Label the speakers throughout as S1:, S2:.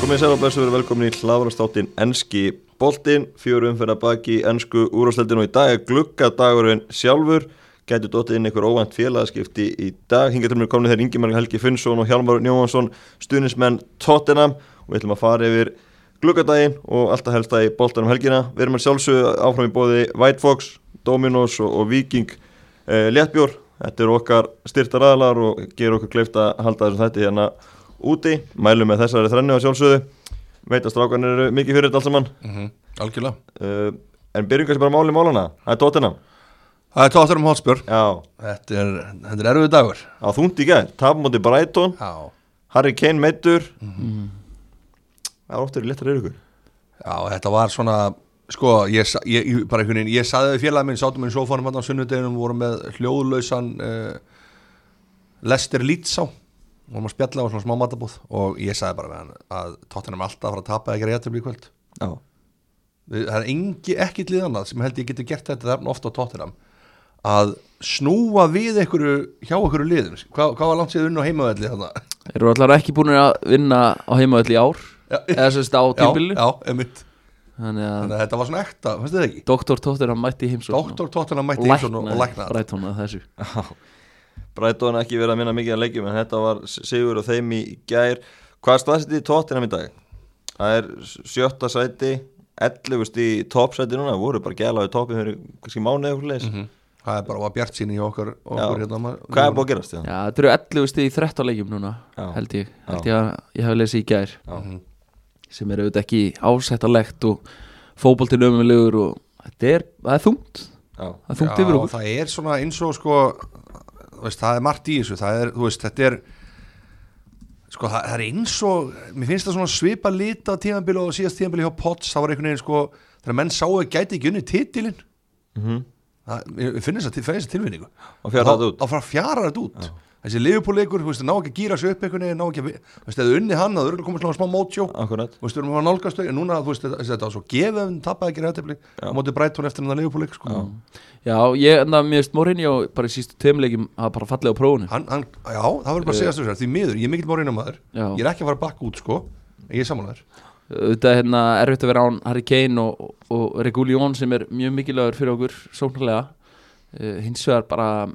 S1: komið sér og blessu verið velkomin í hlaðvarastáttin Enski Boltin, fjörum fyrir að baki í Ensku úrvarsleldin og í dag er gluggadagurinn sjálfur Gæti dottið inn einhver óvænt félagaskipti í dag Hingað til mér komin þeir Ingemar Helgi Finnsson og Hjalmar Njóhansson Stunismenn Tottenham Og við ætlum að fara yfir gluggadaginn og alltaf helst að í boltanum um helgina Við erum að sjálfsögðu áfram í bóði White Fox, Dominos og, og Viking uh, Léttbjór Þetta eru okkar styrtar aðlar og gerir okkur kleift að halda þessum þætti hérna úti. Mælum með þessari þrennu á sjálfsögðu. Veit að strákan eru mikið fyrir þetta allt saman.
S2: Mhm. Algjörlega.
S1: Uh, en byrjum kannski bara máli málana. Það er tóttina.
S2: Það er tóttur um hotspur.
S1: Já,
S2: Þetta er, þetta er erfið dagur.
S1: á þúnd í gæð. Tapmóti Brighton,
S2: Já.
S1: Harry Kane meittur. Það er ofta verið léttar yfir ykkur.
S2: Já, þetta var svona, sko, ég, sa- ég, ég bara einhvern veginn, ég saði við félagið minn, sátum minn sófanum hann á sunnudeginum, vorum með hljóðlausan uh, Lester Lítsá, vorum að spjalla á svona smá matabúð og ég saði bara við hann að tóttunum alltaf að fara að tapa eða gera réttum í kvöld.
S1: Já.
S2: Við- Það er engi, ekkit liðanað sem held ég geti gert þetta þarna ofta á tóttunum að snúa við einhverju, hjá einhverju liðum, hvað, hvað var langt séð unn og heimavelli þarna?
S3: Þeir eru allar ekki búin að vinna á heimavöll í ár
S2: Já.
S3: Eða sérst á tímbilinu
S2: Já, já, einmitt
S3: Þannig að
S2: Þannig að þetta var svona ekta, finnst þið það ekki?
S3: Doktor Tóttir hann mætti í heimsókn
S2: Doktor Tottenham mætti
S3: og
S2: í svona og
S3: læknaði
S2: læknaði
S3: Brighton að þessu
S1: Brighton ekki verið að minna mikið að leikjum en þetta var sigur og þeim í gær. Hvað staðsitið tóttina í dag? Það er sjötta sæti, 11 stíð í toppsæti núna. Það voru bara gæla á toppin fyrir kannski mánuð eða eitthvað leys.
S2: Mhm. Mm. Það er bara að bjart síni í okkar,
S1: Já.
S2: okkur hérna maður-
S1: Hvað er búin að gerast? hérna? Já?
S3: Já, þetta eru 11 stið í 13 leikjum núna
S1: Já.
S3: Held ég, held
S1: Já.
S3: ég að ég hafi lesið í gær
S1: Já.
S2: Mhm.
S3: Sem er auðvitað ekki ásættalegt og fótboltinn ömulegur og þetta er, það er þungt
S1: Já.
S3: Það er þungt yfir
S2: Já,
S3: okkur
S2: það er svona eins og sko þú veist, það er margt í þessu það er, þú veist, þetta er sko, það, það er eins og mér finnst það svona svipa lita tíðanbili og síðast tíðanbili hjá Potts, það var einhvern veginn sko þegar menn sáu að gæti ekki unni titilinn
S1: Mhm.
S2: það, ég finnst það, finnst það tilvinningu
S1: Og fjara þetta út.
S2: þá fara fjara þetta út þessi liðupúleikur, þú veist, ná ekki að gýra sig upp einhvern veginn, ná ekki að, vi- þú veist, eða unni hann það eru komið svona smá mótsjó
S1: Akkurat
S2: Þú veist, við erum að fara að nálgast þau, en núna, þú veist, þetta- þetta var svo gefið, en tapaði ekki reyðtefli, mótið Brighton eftir hann að leiðupúleik, sko.
S3: Já, ég enda mér veist morinn Já, bara í sístu tveimleikjum hafa bara fallið á prófunu
S2: hann, hann, já, það verður bara að segja þessu því miður, ég er mikill morinu maður
S3: Já.
S2: ég er ekki að fara bakk út sko en ég er samanlegar
S3: auðvitað hérna erfitt að vera án Harry Kane og, og Reguljón sem er mjög mikilvægur fyrir okkur sóknarlega uh, hins vegar bara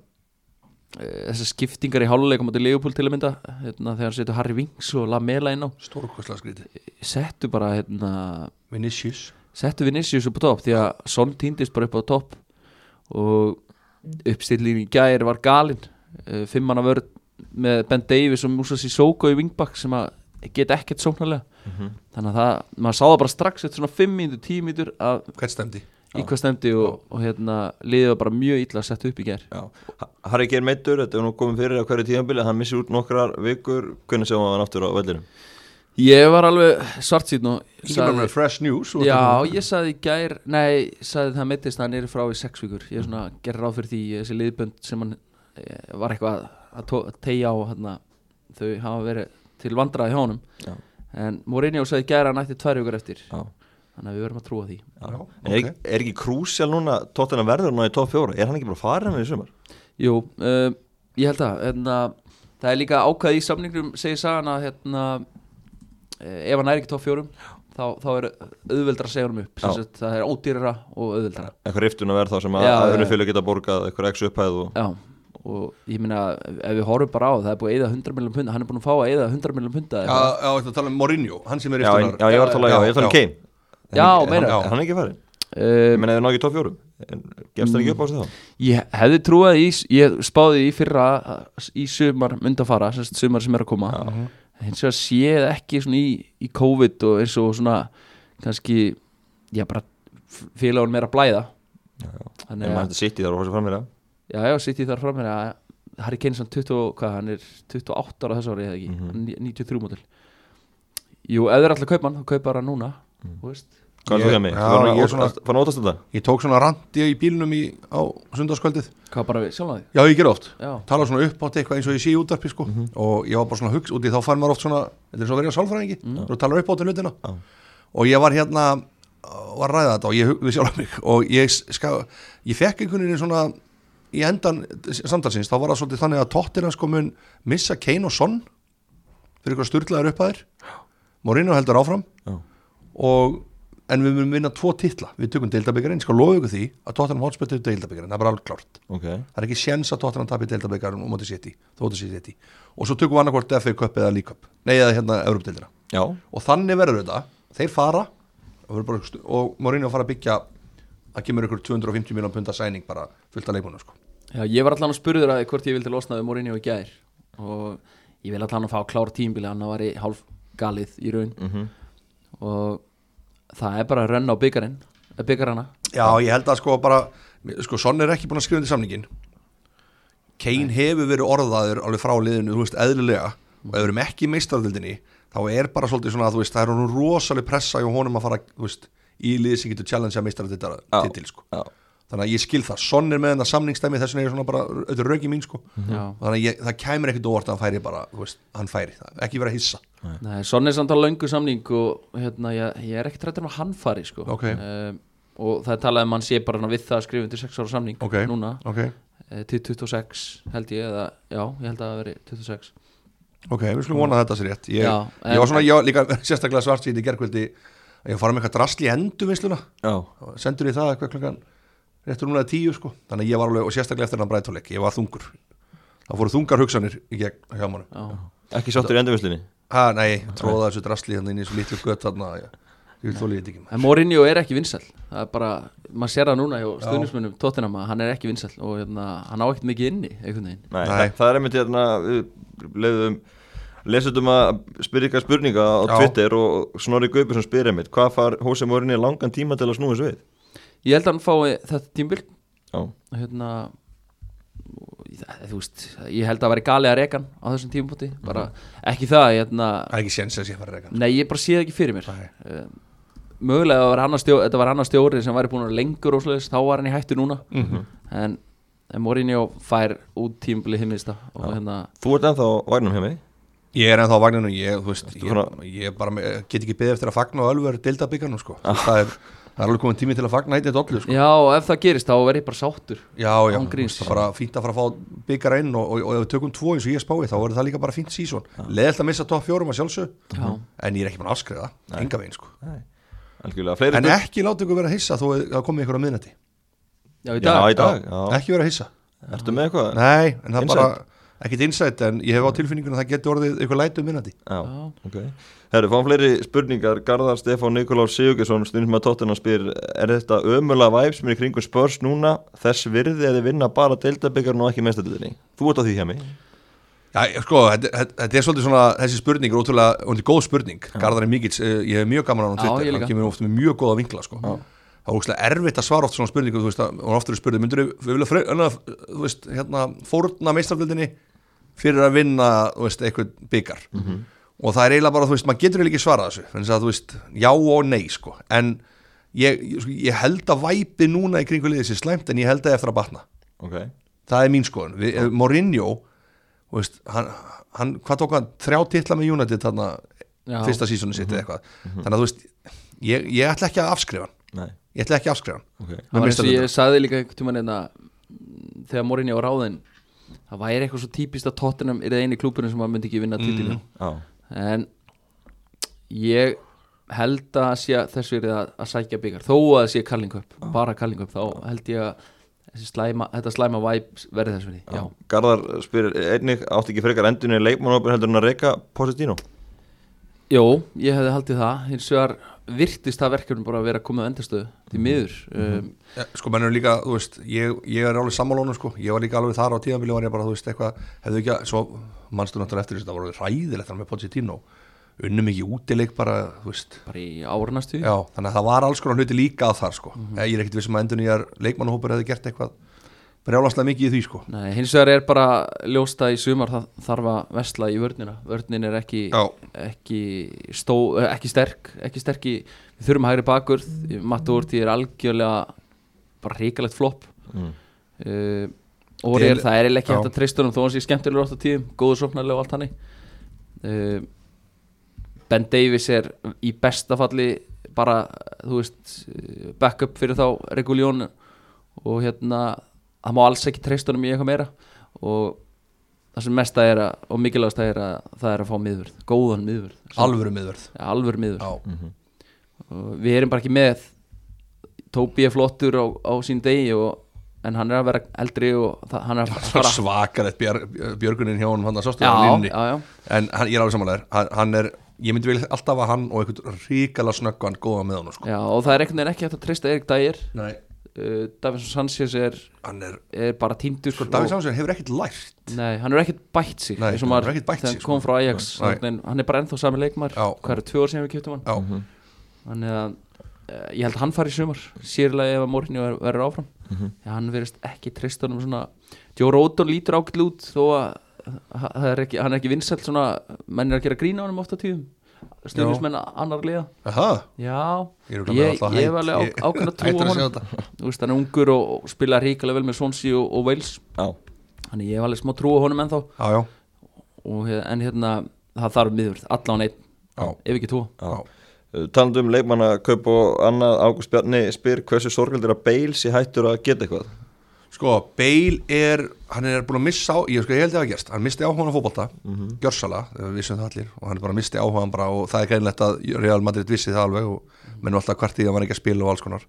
S3: uh, þessar skiptingar í háluleika mútið Leopold til að mynda hérna, þegar hann setur Harry Wings og Lamela inn á
S2: stórkostlega skrítið
S3: settu bara hérna
S2: Vinicius
S3: settu Vinicius upp á topp því að Son týndist bara upp á topp og uppstillin í gær var galinn uh, fimmanna vörð með Ben Davies og Musa Sissoko í wingback sem að get ekkert sóknarlega þannig að það, maður sá það bara strax eftir svona 5 mínútur, 10 mínútur að
S2: hvert stemdi
S3: í hvað stemdi og, og hérna liðið var bara mjög illa að setja upp í gær
S1: Já. Ha- Harry Kane meittur, þetta er nú komið fyrir á hverju tíðanbili hann missir út nokkrar vikur hvernig sem hann aftur á vellinu
S3: Ég var alveg svart síðan og
S2: ekki bara með fresh news og-
S3: Já, ég saði í gær, nei, saði það meittist hann er frá í sex vikur, ég er svona gerði ráð fyrir því eh, þessi liðbönd sem hann eh, var eitthvað að- að tó- að tegja á hérna, þau hafa verið til vandraði hjá honum
S1: Já.
S3: en Mourinho saði í gær að hann ætti tvær vikur eftir
S1: Já.
S3: þannig að við verðum að trúa því
S2: Já,
S1: En er,
S2: ok.
S1: okay. er ekki krúsjál núna tóttina verður núna í top 4 er hann ekki bara farin við í sumar?
S3: Jú, um, ég held að hérna, það er líka ákvæði í samningnum segir sagan að hérna, eh, ef hann er ekki top fjórum þá, þá er auðveldra að segja hann upp Sem
S1: Já.
S3: sagt, það er ódýrara og auðveldra
S1: eitthvað riftun að verð þá sem að
S3: Já, já,
S1: öðru
S3: já.
S1: fjölu geta borgað eitthvað x upphæð og
S3: Já, og ég meina ef við horfum bara á það er búið að eyða 100 miljón punda hann er búin að fá að eyða 100 miljón punda
S2: já,
S3: eða-
S2: já, þetta tala um Mourinho hann sem er
S1: já, en, já, ég var að tala, já, ég var að tala um Kane
S3: Já,
S1: Er hann-
S3: meina.
S1: er hann- er hann ekki farin?
S3: um,
S1: Ég meina, ef hann ekki í top 4 en gefst hann ekki upp á sig þá?
S3: Ég hefði trúað í, ég spáði í fyrra að í sumar mynd að fara, semst sumar sem er að koma hins vegar séð ekki svona í, í COVID og eins og svona kannski, já bara félagunum er að blæða
S1: en
S3: þannig
S1: maður
S3: að,
S1: hætti sitt í þar og hósi fram mér
S3: já já, sitt ég þar fram mér að Harry Kane sem 20, og- hvað, hann er 28 ára þessu ári eða ekki,
S1: Mhm.
S3: mm 93 mótil Jú, ef þeir ætla að kaupa hann, þá kaupar hann núna, þú veist
S1: hvað er
S2: Ég-
S1: þú hjá mig?
S2: já, ég er svona-
S1: fann að ótast þetta?
S2: ég tók svona randi í bílnum í, á sundarskvöldið
S3: Hvað bara við, sjálf að því?
S2: já, ég ger oft
S3: Já,
S2: tala svona upp átt eitthvað eins og ég sé í útvarpi sko. og ég var bara svona hugst út í þá fær maður oft svona þetta er svo að vera sálfræðingi mm. og tala upp átt hlutina
S1: Já.
S2: og ég var hérna var að ræða þetta og ég hug- við sjálf mig og ég, ska, ég fekk einhvern veginn svona í endan samtalsins þá var það svolítið þannig að tóttina sko mun missa Kane og Son fyrir eitthvað styrlaðar upphæðir Mourinho heldur áfram
S1: Já.
S2: og, en við munum vinna tvo titla við tökum deildabyggarinn, ég skal lofa ykkur því að Tottenham Hotspur til deildabyggarinn, það er bara alveg klárt
S1: ok,
S2: það er ekki séns að Tottenham tapir deildabyggarinn og móti séti, þóttu sér séti og svo tökum við annarkvort FA Cup eða League Cup nei, eða hérna Európdeildina
S1: já,
S2: og þannig verður þetta, þeir fara það verður bara stu- og Mourinho fara að byggja að kemur ykkur 250 miljón punta sæning bara fullt að leikmuna sko.
S3: Já, ég var allan að spurður að hvort ég vildi losna við Mourinho í gær og ég vil allan að fá klár tímbili hann var í hálf galið í raun og það er bara að renna á eh, byggarinn byggarana
S2: já, ég held að sko bara sko, Son er ekki búin að skrifa undir samningin Kane hefur verið orðaður alveg frá liðinu, þú veist, eðlilega og ef við erum ekki í meistardildinni þá er bara svolítið svona að þú veist, það er hún rosaleg pressa hjá honum að fara, þú veist, í liði sem getur challenge að
S1: Já.
S2: meistardildar sko.
S1: já
S2: þannig að ég skil það, Son er með þetta samningstæmi þess vegna er ég svona bara, auðvitað rauki mín sko
S3: Já,
S2: Og þannig að ég, það kæmur ekkert óvart að hann færi bara, þú veist, hann færi það, ekki vera að hissa
S3: Nei, svona er samt á löngu samning og hérna, ég, ég er ekki trættur um að hann fari sko.
S2: Ok.
S3: um, og það er talað um að hann sé bara við það að skrifa undir 6 ára samning
S2: Ok.
S3: núna,
S2: ok,
S3: eh, til 26 held ég, eða, já, ég held að það veri 26
S2: ok, við skulum vona að þetta sér rétt ég,
S3: Sko. Já, en-
S2: ég var svona, ég var líka sérstaklega svart síðan í gerkvöldi að ég var farið með eitthvað drasl í endurvinnsluna
S1: já,
S2: og sendur ég það eitthvað klokkan réttur núna tíu sko, þannig að ég var alveg, og sérstaklega eftir hann bræðtóleik, ég var þungur það fóru þungar hugsanir í gegn hjá mann
S3: já.
S1: ekki sáttur í endurvinslinni
S2: ha, nei, tróða þessu drasli hann inn í svo lítlu gött þarna, ég, ég vil þóli þetta ekki maður.
S3: en Mourinho er ekki vinsæl það er bara, maður sér það núna hjá stuðnismunum tóttinam að hann er ekki vinsæl og hérna, hann á ekkert mikið inni einhvern veginn
S1: Nei,
S2: Nei.
S1: Þa, það er einmitt hérna við leiðum lesutum að spyrja ykkar spurninga á
S2: Já.
S1: Twitter og Snorri Guðbjörnsson spyr einmitt hvað far Hóse Mórinni langan tíma til að snúa þessu við
S3: ég held að hann fái þetta tímbil
S1: já,
S3: hérna og það- þú veist, ég held að veri galið að rekan á þessum tímpunkti, bara
S2: Mhm.
S3: ekki það
S2: það
S3: hérna,
S2: er ekki séns að ég fara að reyka
S3: nei ég bara sé það ekki fyrir mér
S2: Nei.
S3: Eh, mögulega að annar stjó, þetta var annar stjóri sem væri búin að vera lengur og svoleiðis, þá var hann í hættu núna en, en Mourinho fær út tímbili himmista og hérna,
S1: þú ert ennþá á vagnum hjá mig
S2: Ég er ennþá á vagninu, ég, þú veist, ég,
S1: svona-
S2: ég bara með- get ekki beðið eftir að fagna og ölver deildabyggarnum, sko.
S3: Ah.
S2: Það er, það er alveg komin tími til að fagna einnig dollu, sko.
S3: já og ef það gerist þá verð ég bara sáttur
S2: Já, já, þú
S3: Án gríns.
S2: veist, það er bara fínt að fara að fá byggar inn og, og, og ef við tökum tvo eins og ég spái, þá verður það líka bara fínt sísón. Leðilt að missa topp fjórum að sjálfsög,
S3: Já.
S2: en ég er ekki mann afskriða, enga veginn, sko.
S1: algjörlega, fleiri
S2: En
S1: spurningar
S2: ekki láta ykkur vera að hissa þó að það komi ykkur á miðnætti.
S3: já í
S1: já, í
S3: dag,
S1: dag, já,
S2: Ekki vera að hissa.
S1: ertu með eitthvað
S2: Nei, en það
S1: Insight.
S2: bara, ekkit insight, en ég hef á tilfinninguna að það geti orðið ykkur læti um miðnætti.
S1: já, ok herru, fáum fleiri spurningar Garðar Stefán Nikolás Sigurgesson stundum að tóttina spyr er þetta ömulega væp sem er í kringum spörs núna þess virði að þið vinna bara deildabyggarn og ekki mestadildinni þú ert á því hjá mig
S2: Já, ég- sko, þetta, þetta- þetta er svolítið svona, þessi spurning er ótrúlega, hún er góð spurning, Garðar er mikill, eh, ég hef mjög gaman á hann á
S3: Já,
S2: Twitter,
S3: ég
S2: hann
S3: líka.
S2: kemur oft með mjög góða vinkla, sko. Það er ógæslega erfitt að svara oft svona spurningu, þú veist, að- hún er oftur spurning, myndur við vilja, fre- annað, þú veist, hérna, fórna meistarflöldinni fyrir að vinna, þú veist, eitthvað byggar.
S3: Mhm.
S2: Og það er eiginlega bara, þú veist, maður getur eiginlega ekki svarað þessu, þannig að, þú veist, já og nei, sko. En ég, ég, sko, ég held að væpi núna í kringu liðið sér slæmt, en ég held að eftir að batna
S1: ok,
S2: það er mín skoðun við, eh, Mourinho þú veist, hann, hann, hvað tók hann þrjá titla með United þarna
S3: Já.
S2: fyrsta sísonu sitt eða eitthvað þannig að þú veist ég, ég ætla ekki að afskrifa hann
S1: nei,
S2: ég ætla ekki að afskrifa hann
S1: ok
S2: Með
S3: Það var eins og
S2: meistaratitil.
S3: ég saði líka einhvern tímann einna þegar Mourinho var ráðinn það væri eitthvað svo típist að Tottenham er það eini klúburinn sem maður myndi ekki vinna titilinu
S1: já,
S3: en ég held að sé að þess verið að, að sækja byggar þó að það sé kallingu upp,
S2: Ah.
S3: bara kallingu upp þá held ég að þessi slæma, þetta slæma væp verði þess
S2: Ah.
S3: verið já.
S1: Garðar spyrir einnig átti ekki frekar endinu í leikmannhópin heldur en að reyka Positino
S3: Jó, ég hefði haldið það hins vegar virtist það verkefni bara að vera komið á endastöðu
S2: Mhm.
S3: því miður um,
S2: Ja, sko mennur líka, þú veist, ég, ég er alveg sammálónum sko, ég var líka alveg þar á tíðanbili var ég bara, þú veist, eitthvað, hefðu ekki að svo mannstu náttúrulega eftir þess að það voru ræðilegt þar með Pochettino, unnum ekki útileik bara, þú veist,
S3: bara í árnastu
S2: já, þannig að það var alls konar hluti líka að þar sko, ég er ekkit vissum að endur nýjar leikmannhópur hefði gert eitthvað brjálaslega mikið í því sko,
S3: Nei, hins vegar er bara ljósta í sumar það þarf að vesla í vörnina vörnin er ekki,
S2: Já.
S3: ekki, stó, eh, ekki sterk ekki sterk í, við þurfum hægri bakur Matt Orti er algjörlega bara hrikalegt flopp
S1: Mm.
S3: uh, Orri er
S2: Del-
S3: það er eiginlega ekki
S2: Já.
S3: hægt að treysta honum þó hann sé skemmtilegur átt á tíðum, góðu sóknarlega og allt hannig uh, Ben Davies er í besta falli bara, þú veist eh, backup fyrir þá Reguljón og hérna, það má alls ekki treysta honum í eitthvað meira og það sem mesta er að, og mikilvægast er að það er að fá miðvörð, góðan miðvörð Sem-
S2: alvöru miðvörð
S3: ja, alvöru miðvörð
S2: Já,
S3: og við erum bara ekki með Tóbi er flottur á, á sín degi og, en hann er að vera eldri og það, hann er að
S2: það var svakalegt björ, björgunin hjá honum hann að sástu
S3: Já,
S2: það á línni
S3: já, já.
S2: en hann, ég er alveg samanlegar hann, hann er, ég myndi vilja alltaf að hann og einhvern ríkala snöggvan góða með honum sko.
S3: Já, og það er einhvern veginn ekki hægt að treysta Erik Dyer
S2: Nei,
S3: uh, Davinson Sanchez er,
S2: hann er
S3: er bara týndur sko,
S2: Davíð
S3: og-
S2: Sánsson hefur ekkert lært
S3: Nei, hann er ekkert bætt sig
S2: Nei,
S3: eins og
S2: hann
S3: maður
S2: hefur ekkert bætt
S3: þegar
S2: sig,
S3: hann kom
S2: sko.
S3: frá Ajax
S2: Nei.
S3: en hann er bara ennþá sami leikmar
S2: Já.
S3: hvað eru tvö ár sem við kjöptum hann
S2: Já,
S3: þannig að eh, ég held að hann fari í sumar sérlega ef að Mourinho ver- verður áfram mm
S2: Mhm.
S3: hann verðist ekki tristunum svona Joe Rodon lítur ákveld út þó að ha- það er ekki, hann er ekki vinsælt svona menn er að gera grína honum ofta tíðum stundismenn annar liða
S2: aha
S3: já,
S2: Ég er
S3: ég,
S2: örugglega með
S3: ég,
S2: alltaf hætt.
S3: hef alveg
S2: Ég-
S3: á, ákveðna trú
S2: Hættur
S3: á
S2: að sjá
S3: honum Þú veist, hann er ungur og, og spila ríkilega vel með Swansea og, og Wales
S1: Já,
S3: þannig ég hef alveg smá trú á honum ennþá
S2: Já, já,
S3: og, hér- en hérna, það þarf miðvörð allan einn,
S2: Já.
S3: ef ekki tvo
S2: já.
S1: Uh, talandi um leikmanna kaup og annað Ágúst Bjarni spyr hversu sorgald er að Bale sé hættur að geta eitthvað
S2: Sko, Bale er, hann er búin að missa á, ég, sko, ég held ég að gerst, hann misti áhugan á fótbolta,
S3: Mhm.
S2: gjörsala, við vissum það allir, og hann er bara misti áhugan bara og það er greinlegt að Real Madrid vissi það alveg og
S3: Mhm.
S2: mennum alltaf hvert í að hann var ekki að spila og alls konar.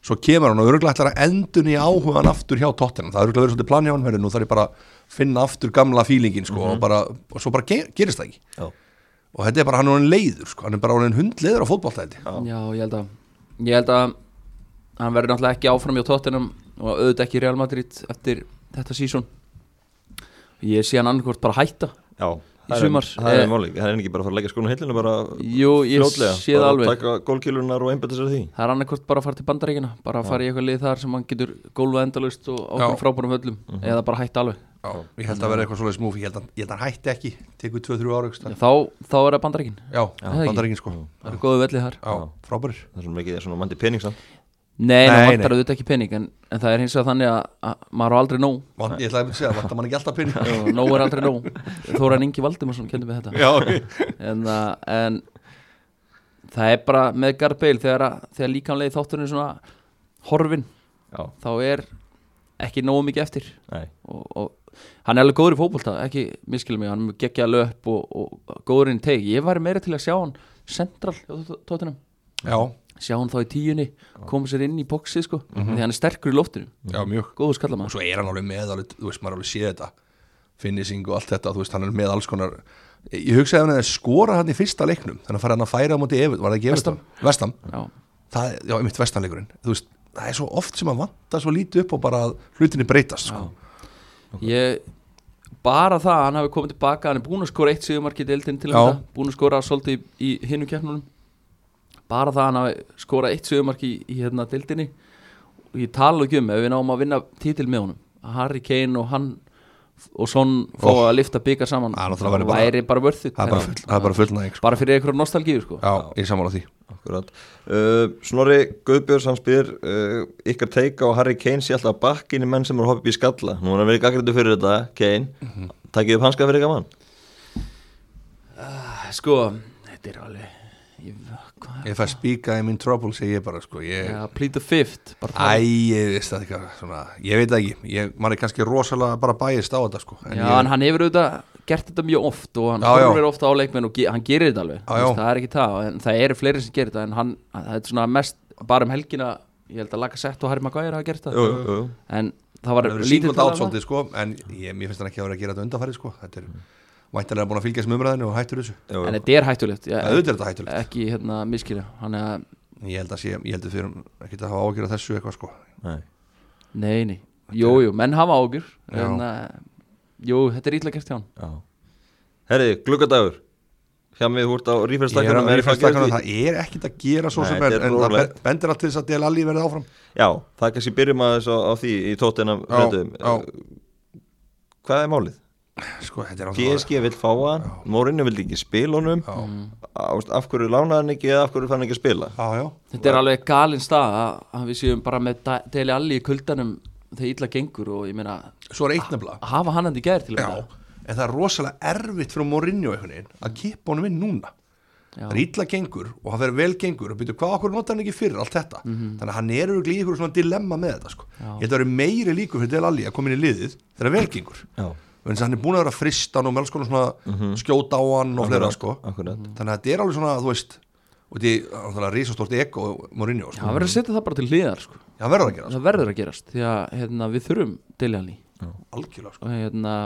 S2: Svo kemur hann og örgulega ætlar að endun í áhugan aftur hjá Tottenham, það er örgulega verið svolítið plan hjá hann, herri, nú þarf ég bara að finna aftur gamla fílingin, sko,
S3: Mhm.
S2: og, bara, og svo bara ger, gerist það ekki.
S1: Já.
S2: Og þetta er bara, hann er orðin leiður, sko, hann er bara orðin hundleiður á fótbolta, held ég.
S1: Já.
S3: Já, ég held að ég held að hann verður náttúrulega ekki áfram hjá Tottenham og auðvitað ekki í Real Madrid eftir þetta sísón ég sé hann annarkvort bara hætta
S1: Já,
S3: Í sumar.
S1: Það er,
S3: Eh.
S1: máli, það er ekki bara að fara að leggja skólan hillinu bara
S3: Jú, ég
S1: fljótlega,
S3: sé það
S1: bara
S3: alveg.
S1: taka gólkilunar og einbetta sér að því
S3: það er annarkvort bara að fara til bandaríkina bara að fara í eitthvað lið þar sem hann getur gólfa endalaust og
S2: Já.
S3: ákveðum frábærum völlum eða bara hætta alveg
S2: Já, ég held að vera eitthvað svoleiðis múfi, ég held að, ég held að hann hætti ekki, tekur 2-3 ára, ekki,
S3: þá, þá er það bandaríkin
S2: Já,
S3: Já, það
S2: bandar sko
S3: það eru góðu vellið þar
S2: Já, frábærir
S1: Það er svona mikið svona mandi pening samt
S2: Nei,
S3: Nei, það
S2: nei.
S3: vantar auðvitað ekki pening en, en það er hins vegar þannig að, að maður á aldrei nóg
S2: Vand, Ég ætlaði að myndi segja, vantar mann ekki alltaf pinni
S3: og nóg er aldrei nóg Þóran Ingi Valdimarsson kendur mig þetta
S2: Já, ok
S3: en, uh, en það er bara með Garth Bale þegar, að- þegar líkanlega þátturinn er svona horfin
S1: Já,
S3: þá er ekki nógu mikið eftir
S1: nei,
S3: og, og hann er alveg góður í fótbolta ekki miskilum mig, hann geggja löp og, og góðurinn teg, ég væri meira til að sjá hann central á tóttunum
S2: Já,
S3: sjá hann þá í tíunni, koma sér inn í boxi sko, því hann er sterkur í loftinu
S2: já, mjög
S3: góður skallar
S2: Og svo er hann alveg með, alveg, þú veist, maður alveg séð þetta Finnising og allt þetta, þú veist, hann er með alls konar Ég hugsaði um að hann er skorað hann í fyrsta leiknum Þannig að fara hann að færa á móti Evert, var það ekki Evert?
S3: Vestam.
S2: Vestam
S3: já,
S2: það, er- Já, einmitt vestanleikurinn Þú veist, það er svo oft sem að vanta svo lítið upp og bara að hlutinni breytast sko.
S3: ég bara það að hann hafi komið tilbaka hann er búin að skora eitt sigumarki í deildin til
S2: Já.
S3: þetta búin að skora svolítið í, í hinu keppnunum bara það að hann hafi skorað eitt sigumarki í, í hérna deildinni og ég tala nú ekki um ef við náum að vinna títil með honum að Harry Kane og hann og Son fá
S2: Oh.
S3: að lifta bygga saman
S2: Það er náttúrulega
S3: væri
S2: verið bara-
S3: bara vörð
S2: Það er bara full- það er bara fullnæðing sko.
S3: bara fyrir einhverjum nostalgíu sko.
S2: Já, ég er sammála því
S1: akkurat uh, Snorri Guðbjörns hann spyr uh, ykkar teika og Harry Kane sé alltaf bakkinni menn sem eru hoppið í skalla Nú er hann verið gaggrindu fyrir þetta, Kane mm
S3: Mhm.
S1: Takkið upp hanska fyrir gaman
S3: sko, þetta er alveg ég, hvað,
S2: If I speak I'm in trouble, segi ég bara sko. ég,
S3: ja, plead the fifth bara
S2: Æ,
S3: tala-
S2: ég veist það ekki svona, Ég veit það ekki, ég, maður er kannski rosalega bara bæist á þetta sko
S3: Já,
S2: ég,
S3: en hann hefur auðvitað gert þetta mjög oft og hann
S2: Já, já.
S3: horfir ofta á leikmenn og ge hann gerir þetta alveg
S2: Já,
S3: Þú veist,
S2: já.
S3: það er ekki það, en það eru fleiri sem gerir þetta en hann, það er svona mest, bara um helgina ég held að Laka Sett og Harry Maguire hafa gert það
S1: Jú, jú, jú.
S3: en það var
S2: hann hefur
S3: lítið
S2: singult átt
S3: talað um það
S2: svolítið sko En ég, mér finnst hann ekki að vera að gera þetta undanfæri sko Þetta er væntanlega búin að fylgjast með umræðinu og hættur þessu
S1: Jú, jú.
S3: en þetta er hættulegt ég,
S2: Það auðvitað er þetta hættulegt
S3: ekki hérna miskilja hann er að,
S2: Ég held að sé, ég held að fyrir ekki að hafa ágjörð þessu eitthvað sko
S1: Nei.
S3: nei, nei, jú, jú, menn hafa ágjur
S2: Já.
S3: en að, jú, þetta er ítla gert hjá hann
S1: Já. Herri, gluggardagur Hjá mig húrt á rífærstakkanum
S2: Ég er að stakkanum, Það er ekkit að gera svo
S1: Nei,
S2: sem
S1: þetta
S2: er
S1: er
S2: En það
S1: rólegt.
S2: ben- bendir allt til þess að Del Alli verði áfram
S1: Já, það er kannski byrjum aðeins á, á því í tóttina fréttum
S2: já.
S1: Hvað er málið?
S2: Sko, þetta er alveg
S1: PSG vill fá hann, Mourinho vildi ekki spila honum Ást, Af hverju lánaði hann ekki eða af hverju fann hann ekki að spila
S2: Já, já
S3: Þetta er alveg galinn stað að, að við séum bara með Da- Dele Alli í kuldanum þegar ítla gengur og ég meina
S2: Svo er eitt nefnilega
S3: að hafa hann hann í gær til að
S2: Já,
S3: mynda.
S2: en það er rosalega erfitt fyrir Mourinho einhvern veginn að kippa honum inn núna
S3: Já.
S2: það er illa gengur og það verður vel gengur og byrju hvað okkur notar hann ekki fyrir allt þetta þannig að hann er auðvitað í ykkur svona dilemma með þetta sko. ég held að það eru meiri líkur fyrir Del Alli að koma inn í liðið þegar vel gengur
S1: Já,
S2: þannig að hann er búin að vera fristan og með alls konar svona skjóta á hann og fleira sko
S1: Mhm. Akkurat.
S2: þannig að þetta er alveg svona, þú veist og þetta er náttúrulega risastort ego Mourinho, sko,
S3: það verður að setja það bara til hliðar sko.
S2: hann verður að gera sko.
S3: það verður að gerast því að hérna, við þurfum Deli Alli
S2: algjörlega sko.
S3: og hérna,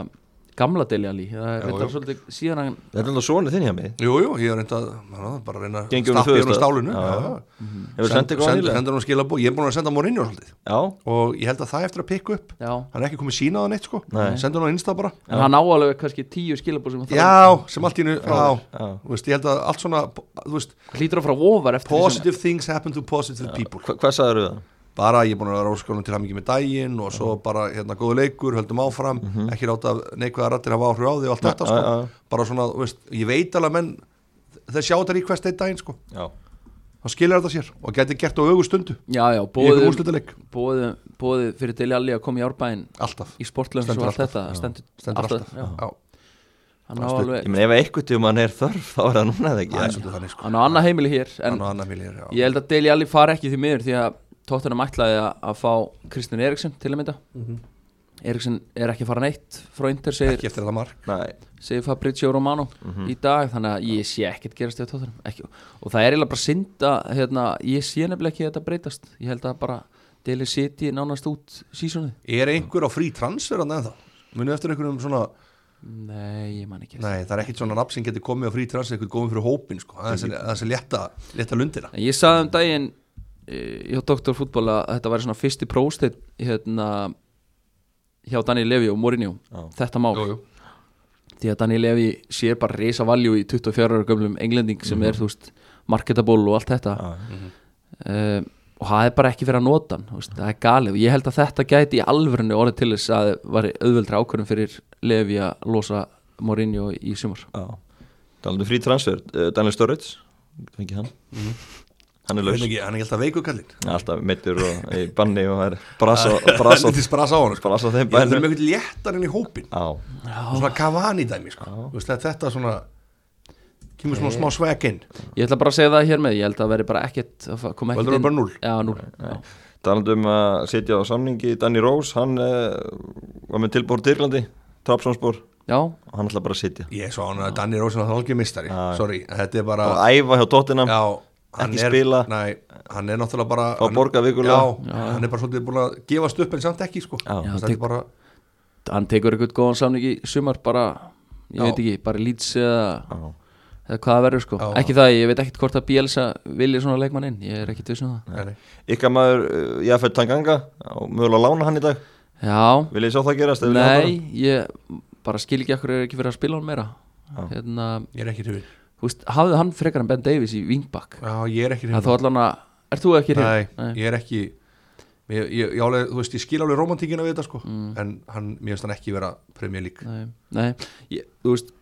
S3: gamla Deli Alli það er þetta svolítið síðan hann
S1: Þetta er alltaf svona þinn hjá mig
S2: Jú, jú, ég er reynda að bara að reyna að
S1: Gengjum við
S2: stappa í honum
S1: föðurstað.
S2: stálinu
S1: Já, já. Hefur sendið
S2: sendur
S1: góðan
S2: send,
S1: nýlega?
S2: send hann skilabó, ég er búin að senda Mourinho svolítið
S1: Já,
S2: og ég held að það eftir að pikka upp
S3: já.
S2: hann er ekki komið sína á það neitt sko
S1: Nei.
S2: sendur hann á Insta bara
S3: en hann á alveg kannski tíu skilabóð sem hann þarf
S2: Já, sem allt í hennu, já,
S1: já.
S2: þú veist, ég held að allt svona, þú veist,
S3: að- hlýtur að fara ofar eftir því sem-
S2: positive things happen to positive people
S1: Hva, hvað sagður það?
S2: bara ég er búin að vera áskólanum til að mikið með daginn og svo bara hérna góðu leikur, höldum áfram ekki láta neikvæða rættir hafa áhrif á því og allt þetta
S1: Mhm. já,
S2: sko,
S1: já.
S2: bara svona, þú veist, ég veit alveg að menn þeir sjá þetta request einn daginn sko
S1: Já,
S2: þá skilja þetta sér og gæti gert á augustundu
S3: já, já,
S2: í einhverjum
S3: bóðið
S2: úrslutaleik,
S3: bóðið bóði fyrir Deli Alli að koma í árbæðin
S2: alltaf
S3: í sportlöfum
S2: Stendur
S3: og allt
S2: alltaf,
S3: þetta stendur,
S2: stendur alltaf,
S3: já.
S2: Já.
S3: hann á
S2: Stendur-
S1: ég
S3: alveg
S1: meina ef eitthvað tíma hann er þörf þá er það núna eða
S2: það er
S1: ekki
S2: svolítið þannig sko
S3: hann á annað heimili hér en
S2: hann og annar millir, já,
S3: Ég held að Deli Alli fari ekki því miður því að Tottenham ætlaði að, að fá Kristján Eriksson til að mynda
S2: Mhm.
S3: Eriksson er ekki fara neitt frá Inter segir,
S2: ekki eftir þetta mark
S1: Nei,
S3: segir Fabrizio Romano
S2: Mhm.
S3: í dag þannig að ég sé ekkert gerast því að Tottenham ekki, og það er eiginlega bara synd að hérna, ég sé nefnilega ekki að þetta breytast ég held að bara Deli City nánast út sísonið
S2: er einhver á frí transfer hann eða munið eftir einhverjum svona,
S3: Nei, ég man ekki
S2: nei það er ekkit svona nafn sem getur komið á frí transfer, eitthvað komið fyrir hópin sko, aðeins að aðeins að létta, létta lundina
S3: En ég sagði um daginn eh, hjá Dr. Fútbol að þetta væri svona fyrsti próstið hérna, hjá Daniel Levi og Mourinho
S1: Já.
S3: þetta mál
S2: Jú, jú.
S3: því að Daniel Levi sé bara reysa valjú í 24 ára gömlum englending
S2: Mhm.
S3: sem er þú veist marketaból og allt þetta
S1: Já.
S3: um, og það er bara ekki fyrir að nota hann þú veist, það er galið og ég held að þetta gæti í alvörinu orðið til þess að það var auðveldra ákvörðum fyrir Levi að losa Mourinho í sumar
S1: já Talandi um frí transfer, uh, Daniel Sturridge fengi hann Hann er
S2: Ég veit
S1: laus,
S2: ekki, hann er alltaf veiku kallinn
S1: alltaf meittur og í banni og það er brasa, brasa,
S2: Helvitis brasa á hann sko.
S1: brasa þeim
S2: Ég held að
S1: bænum
S2: með eitthvað léttar inn í hópin
S1: Já,
S2: Svona kavani dæmi sko. Þú veist, að Þetta svona Kemur svona smá swag inn
S3: ég ætla bara að segja það hér með, ég held að það veri bara ekkert að fa- koma ekkert
S2: Heldur það bara núll?
S3: Já, núll, já.
S1: talandi um að sitja á samningi Danny Rose, hann uh, var með tilbúr til Irlandi, Trapsonsbúr
S3: já,
S1: og hann ætla bara að sitja
S2: Ég er svona að Danny Rósin Það er algjör mistari Sorry, þetta er bara
S1: og æfa hjá Tottenham
S2: Já hann
S1: Ekki
S2: er,
S1: spila.
S2: nei, hann er náttúrulega bara
S1: Fá
S2: hann-
S1: borgað vikulega.
S2: já, hann er bara svolítið búin að gefast upp en samt ekki sko.
S1: Já.
S2: Þú veist,
S3: Já,
S2: þetta
S3: tek-
S2: er bara,
S3: hann tekur eitthvað góðan samning í sumar bara, ég
S2: Já.
S3: veit ekki, bara lýts eða,
S1: Já.
S3: eða hvað það verður sko
S2: Já.
S3: ekki það, ég veit ekkert hvort að Bielsa vilja svona leikmann inn, ég er ekkert vissum það
S2: nei, nei.
S1: Ykkar maður uh, Jafet Tanganga og mögulega lána hann í dag
S3: já,
S1: Vil ég sjá það gerast? ef við
S3: nei,
S1: látum hann?
S3: ég bara skil ekki akkur er ekki verið að spila hann meira hérna,
S2: ég er ekki hrifin
S3: þú veist, hafði hann frekar en Ben Davies í vingbakk,
S2: Já, ég er ekki
S3: það
S2: hrifin
S3: þá allan að er þú ekki
S2: Nei,
S3: hrifinn? Nei.
S2: ég er ekki ég, ég, ég, alveg, Þú veist, ég skil alveg romantíkina við þetta sko. En hann, mér finnst hann ekki vera Premier League
S3: Mm. Nei, nei ég, þú veist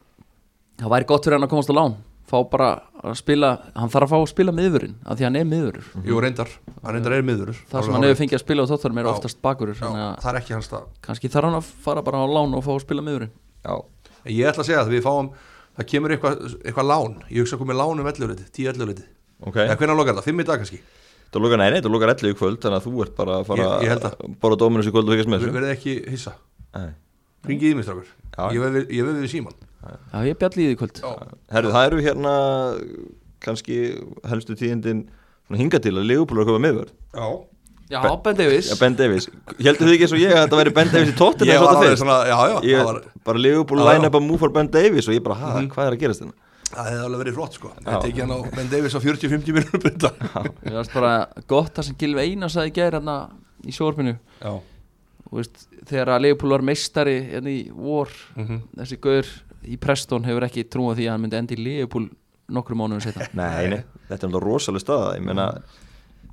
S3: það væri gott fyrir hann að komast á lán fá bara að spila, hann þarf að fá að spila miðurinn, af því að hann er miðurur
S2: Jú, reyndar, hann reyndar er miður
S3: þar sem hann hefur fengið að spila á tóttunum er
S2: Já.
S3: oftast bakurur þannig að
S2: Það er ekki hans stað
S3: kannski þarf hann að fara bara á lán og fá að spila miðurinn
S1: Já,
S2: En Ég ætla að segja að við fáum Það kemur eitthvað eitthva lán Ég hugsa að komið lán um 11 litið, 10 11 litið
S1: ok
S2: Eða hvernig lokar það, 5 í dag kannski
S1: Þú lukar neina, þú lukar 11 í kvöld Þannig að þú ert bara að fara
S2: Ég- ég held að-
S1: að Bora dóminus í kvöld og fyrkast með
S2: Við
S1: þessu
S2: verðum ekki hissa
S1: Nei.
S2: Ringið í mig strákur
S1: Já.
S2: Ég veð við, við síman
S3: Já, ég bjalli í því kvöld
S1: Herðu, það eru hérna kannski helstu tíðindin svona hinga til að Leopold er að köpa miðvörð
S2: Já
S3: Já, Ben Davies
S1: Já, Ben Davies Heldur þið ekki eins og ég að þetta væri Ben Davies í tóttina
S2: Ég var alveg svona, já, já
S1: Ég
S2: Það, var,
S1: bara Leopold
S2: Já, já. Mhm.
S1: line up a move for Ben Davies og ég bara, hæ, hvað er að gerast hérna?
S2: það hefði alveg verið flott sko Ég tekið hann á Ben Davies á 40-50 minnum byrta
S3: Ég varst bara gott það sem Gilvi Einar sagði gæri hérna í sjórfinu
S2: Já,
S3: veist, þegar að Leopold var meistari hérna í vor
S1: Mhm.
S3: þessi gaur í Preston hefur ekki trúið því að hann myndi enda í Leopold nokkru mánuðum setna
S1: Nei, nei, þetta er náttúrulega rosalega staða Ég meina,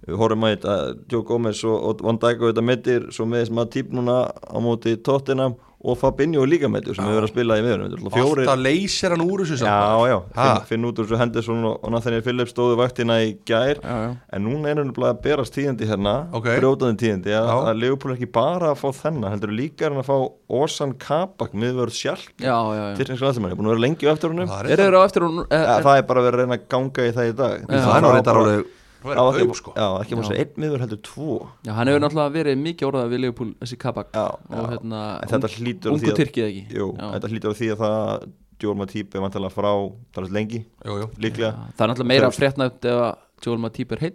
S1: við horfum að þetta Joe Gomez og, og Van Dijk og þetta meittir svo með þessum að típ núna á móti Tottenham og Fabinho líka meittur sem hefur verið að spila í miðurum Þetta er náttúrulega fjórir
S2: alltaf leysir hann úr þessu samt.
S1: Já, já,
S2: Ha?
S1: finn, finn út úr þessu Henderson og, og Nathaniel Phillips stóðu vaktina í gær
S3: Já, já.
S1: en núna er hann bara að berast tíðandi hérna
S2: Ok.
S1: brjótaðin tíðandi að,
S2: Já.
S1: að Leopold er ekki bara að fá þennan heldur líka er hann að fá Osan Kabak miðvörð sjálf
S3: Já, já, já
S1: til þessu landslemann, ég er búin að vera lengi á eftir honum
S2: Það
S1: það er,
S2: er
S3: Eru þeir á eftir hún eh,
S1: það er bara verið að reyna að ganga í það í dag
S2: Það er nú reyndar alveg Það er að
S1: ekki-
S2: kaup sko
S1: já, ekki
S3: Já.
S1: maður að segja einn miður heldur tvo
S3: Já, hann hefur náttúrulega verið mikið orðað við Leopold, þessi kabak
S1: Já,
S3: og
S1: já.
S3: hérna,
S1: En þetta hlýtur á
S3: ungu
S1: því að-
S3: tyrkið ekki
S1: Jú,
S3: Já.
S1: þetta hlýtur á því að það Djólma típi er vantilega frá talast lengi,
S2: Jú, jú
S1: líklega
S3: Já, Það er náttúrulega meira fréttnæmt ef að Jólma típ er heill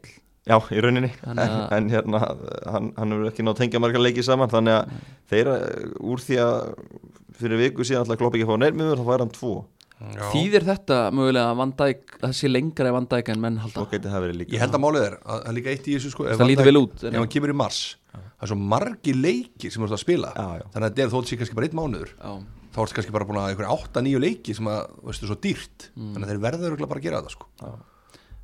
S1: Já, í rauninni, en,
S3: Þannig að-
S1: en hérna hann, hann hefur ekki nátt tengja marga leiki saman þannig að þeirra úr því að fyrir viku síðan alltaf klopp ekki að fá neyrmiður þá fær hann tvo,
S2: Já.
S3: Þýðir þetta mögulega að Van Dijk, að það sé lengra í Van Dijk en menn halda
S1: svo geti það verið líka
S2: Ég held að málið er að það er líka eitt í þessu sko ef
S3: Það lítur
S2: Van Dijk-
S3: vel út, en-
S2: Ef hann kemur í mars Það er svo margi leikir sem þú ert að spila
S1: Já, já.
S2: Þannig að þetta er þótt sér kannski bara eitt mánuður
S3: Já,
S2: Þá ertu kannski bara búin að einhverja átta nýju leiki sem að, veistu, svo dýrt Þannig að þeir verða örugglega bara að gera þetta sko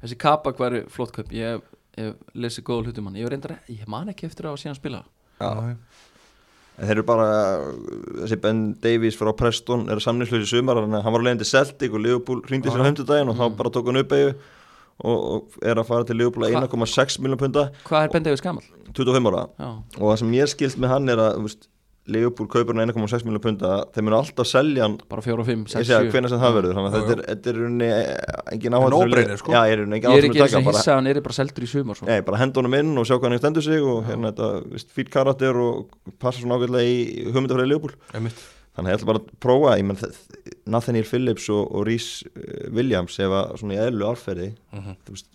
S3: þessi kabak væri flott kaup Ég hef- hef lesið góða hlutum hann Ég, hef reyndar, ég man ekki eftir að sé hann spila
S1: Já. En þeir eru bara, þessi Ben Davies frá Preston er samningslösi sumar þannig að hann var alveg til Celtic og Liverpool hringdi sér á höndudaginn og
S3: Mm.
S1: þá bara tók hann upp eigu og, og er að fara til Liverpool að 1,6 miljón punda,
S3: Hvað er Bendegis gamall?
S1: 25 ára
S3: Já,
S1: og það sem ég skilst með hann er að þú veist, Liverpool kaupur hann á 1,6 miljón punda þeir munu alltaf selja hann
S3: bara 4 og 5,
S1: ég
S3: 6,
S1: segja
S3: 7
S1: hvena sem það verður þannig að þetta er, þetta er í rauninni eh, engin áhættur
S2: no-brainer, sko.
S1: já, ég er í rauninni engin
S3: Ég er
S1: áhættur
S3: ekki eins og
S1: bara, Eh.
S3: hissa, hann er bara seldur í sumar sko. svo.
S1: nei, bara henda honum inn og sjá hvað hann stendur sig og hérna þetta, vist, fýt karakter og passa svona ágætlega í hugmyndafræði Leopold
S2: Einmitt.
S1: þannig að ég ætla bara að prófa ég menn, það- Nathaniel Phillips og, og Rhys eh, Williams ef að svona í eðlu alferði þú veist,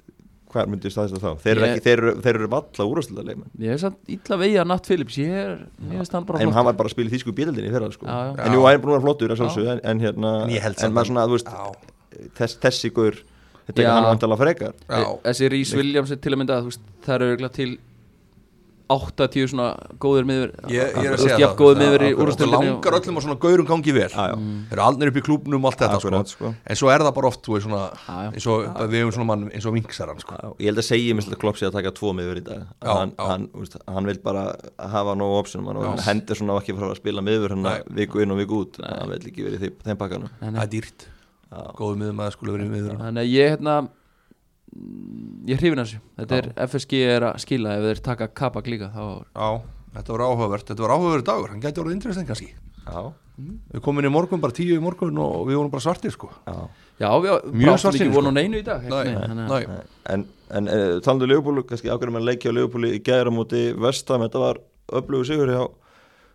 S1: hvað myndir staðist þá þeir eru,
S3: Mhm. Ég-
S1: ekki, þeir eru, þeir eru valla úrvarsluleikmenn
S3: Ég er samt illa vegið að Natt Phillips Ég er, mér finnst hann bara
S1: en
S3: flott
S1: hann var bara að spila í þýsku bílildinni fyrir það sko
S3: Já, já.
S1: en jú, hann er búin að vera flottur að sjálfsögðu, en, en hérna,
S2: En ég held
S1: en
S2: samt
S1: maður svona, þú
S2: Já.
S1: veist þess, þessi gaur, þetta er
S3: Já.
S1: ekki hann vantala frekar
S2: Já.
S3: E- Þessi Rhys Williams er til að mynda þú veist, Það eru örugglega til 80 svona góðir miður
S2: Ég, ég er að segja
S3: Þú veist,
S2: það
S3: jafn góðir miður í Mm.
S2: Akkurat.
S3: úrstildinni
S2: Það langar öllum á svona gaurum gangi vel
S1: já.
S2: Þeir eru allir upp í klúbnum og allt þetta
S1: Akkurat,
S2: sko.
S1: sko.
S2: En svo er það bara oft þú veist, svona,
S3: Já, já.
S2: eins og, Við hefum svona mann eins og vingsaran sko.
S1: Já, ég held að segja minnst að Klopp sé að taka tvo miður í dag
S2: Já,
S1: hann,
S2: já.
S1: Hann, úst, hann vil bara hafa nóg option hann og hendur svona ekki frá að spila miður hann viku inn og viku út hann vil ekki verið í þeim- þeim pakkanum
S3: Nei, nei.
S2: Það er dýrt Góðu miðum að skulu verið miður
S3: Þannig að ég hérna mm, Ég hrifin þessu Þetta er FSG er að skila Ef þeir taka kapak líka þá
S2: Já, þetta var áhugavert, þetta var áhugaverð dagur Hann gæti orðið interesting kannski
S1: já,
S2: Við komum inn í morgun, bara tíu í morgun og við vorum bara svartir sko
S1: já.
S3: Já, við
S2: Mjög
S3: bráttum
S2: svartsýnir,
S3: ekki
S2: sko.
S3: vonu neinu í dag
S2: Nei,
S3: þannig að-
S2: nei,
S1: en, en e, talandu Leopold kannski ákveður með leiki á Leopold í gæra móti Vestam, þetta var öflugur sigur hjá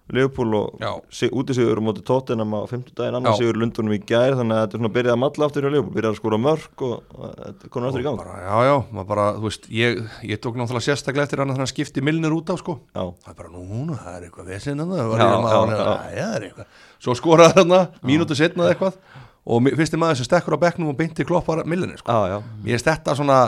S1: Leopold
S2: Já.
S1: og sig, útisigur móti Tottenham á 50 daginn annar
S2: Já.
S1: sigur Lundunum í gær þannig að þetta er svona byrjað að malla aftur hjá Leopold byrjað að skora mörg og, og þetta konur aftur í gang
S2: Bara, já, já, maður bara, þú veist, ég, ég tók náttúrulega sérstaklega eftir hann að hann skipti milnir út af, sko.
S1: Já.
S2: Það er bara, núna, það er eitthvað vesinn hann, það var
S1: Já,
S2: ég maður,
S1: já,
S2: já, já, það er eitthvað. Svo skoraði hann það, mínútu setnað eitthvað og mi- fyrsti maður sem stekkur á bekknum og beinti kloppar millinni, sko.
S1: Já, Ah, já,
S2: Ég veist þetta svona,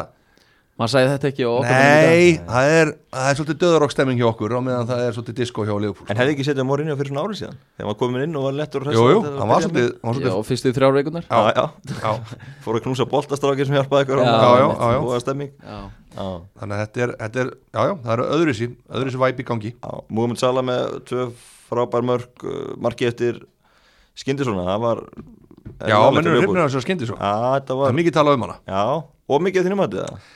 S3: Maður sagði þetta ekki á okkar mönnum í dag.
S2: nei, það er, það er svolítið döðarokkstemming hjá okkur á meðan það er svolítið disco hjá Leopold.
S1: en hefði ekki setjað Morinja fyrir svona árið síðan þegar maður komin inn og var lettur og
S2: Jú,
S1: hressandi
S2: jú,
S1: þegar
S2: hann var
S1: byrjaði með-
S2: svolítið, hann var
S3: Já,
S2: svolítið,
S3: og fyrstu þrjár veikunar
S1: Já, já,
S2: já,
S1: fór að knúsa boltastrákið sem hjálpaði ykkur
S3: Já,
S2: já, já, já.
S1: Góða stemming
S3: Já,
S1: Já,
S2: þannig að þetta er, þetta er, já, já, það eru öðru sín, öðru sín væp í gangi.
S1: já, Múmund Sala með tvö frábær mörg marki eftir Skindisona, það var
S2: Já, menn eru hrifnir að þessu að skyndi svo.
S1: Já, þetta
S2: Það
S1: var
S2: er mikið talað um hana.
S1: Já, og mikið þínum að þetta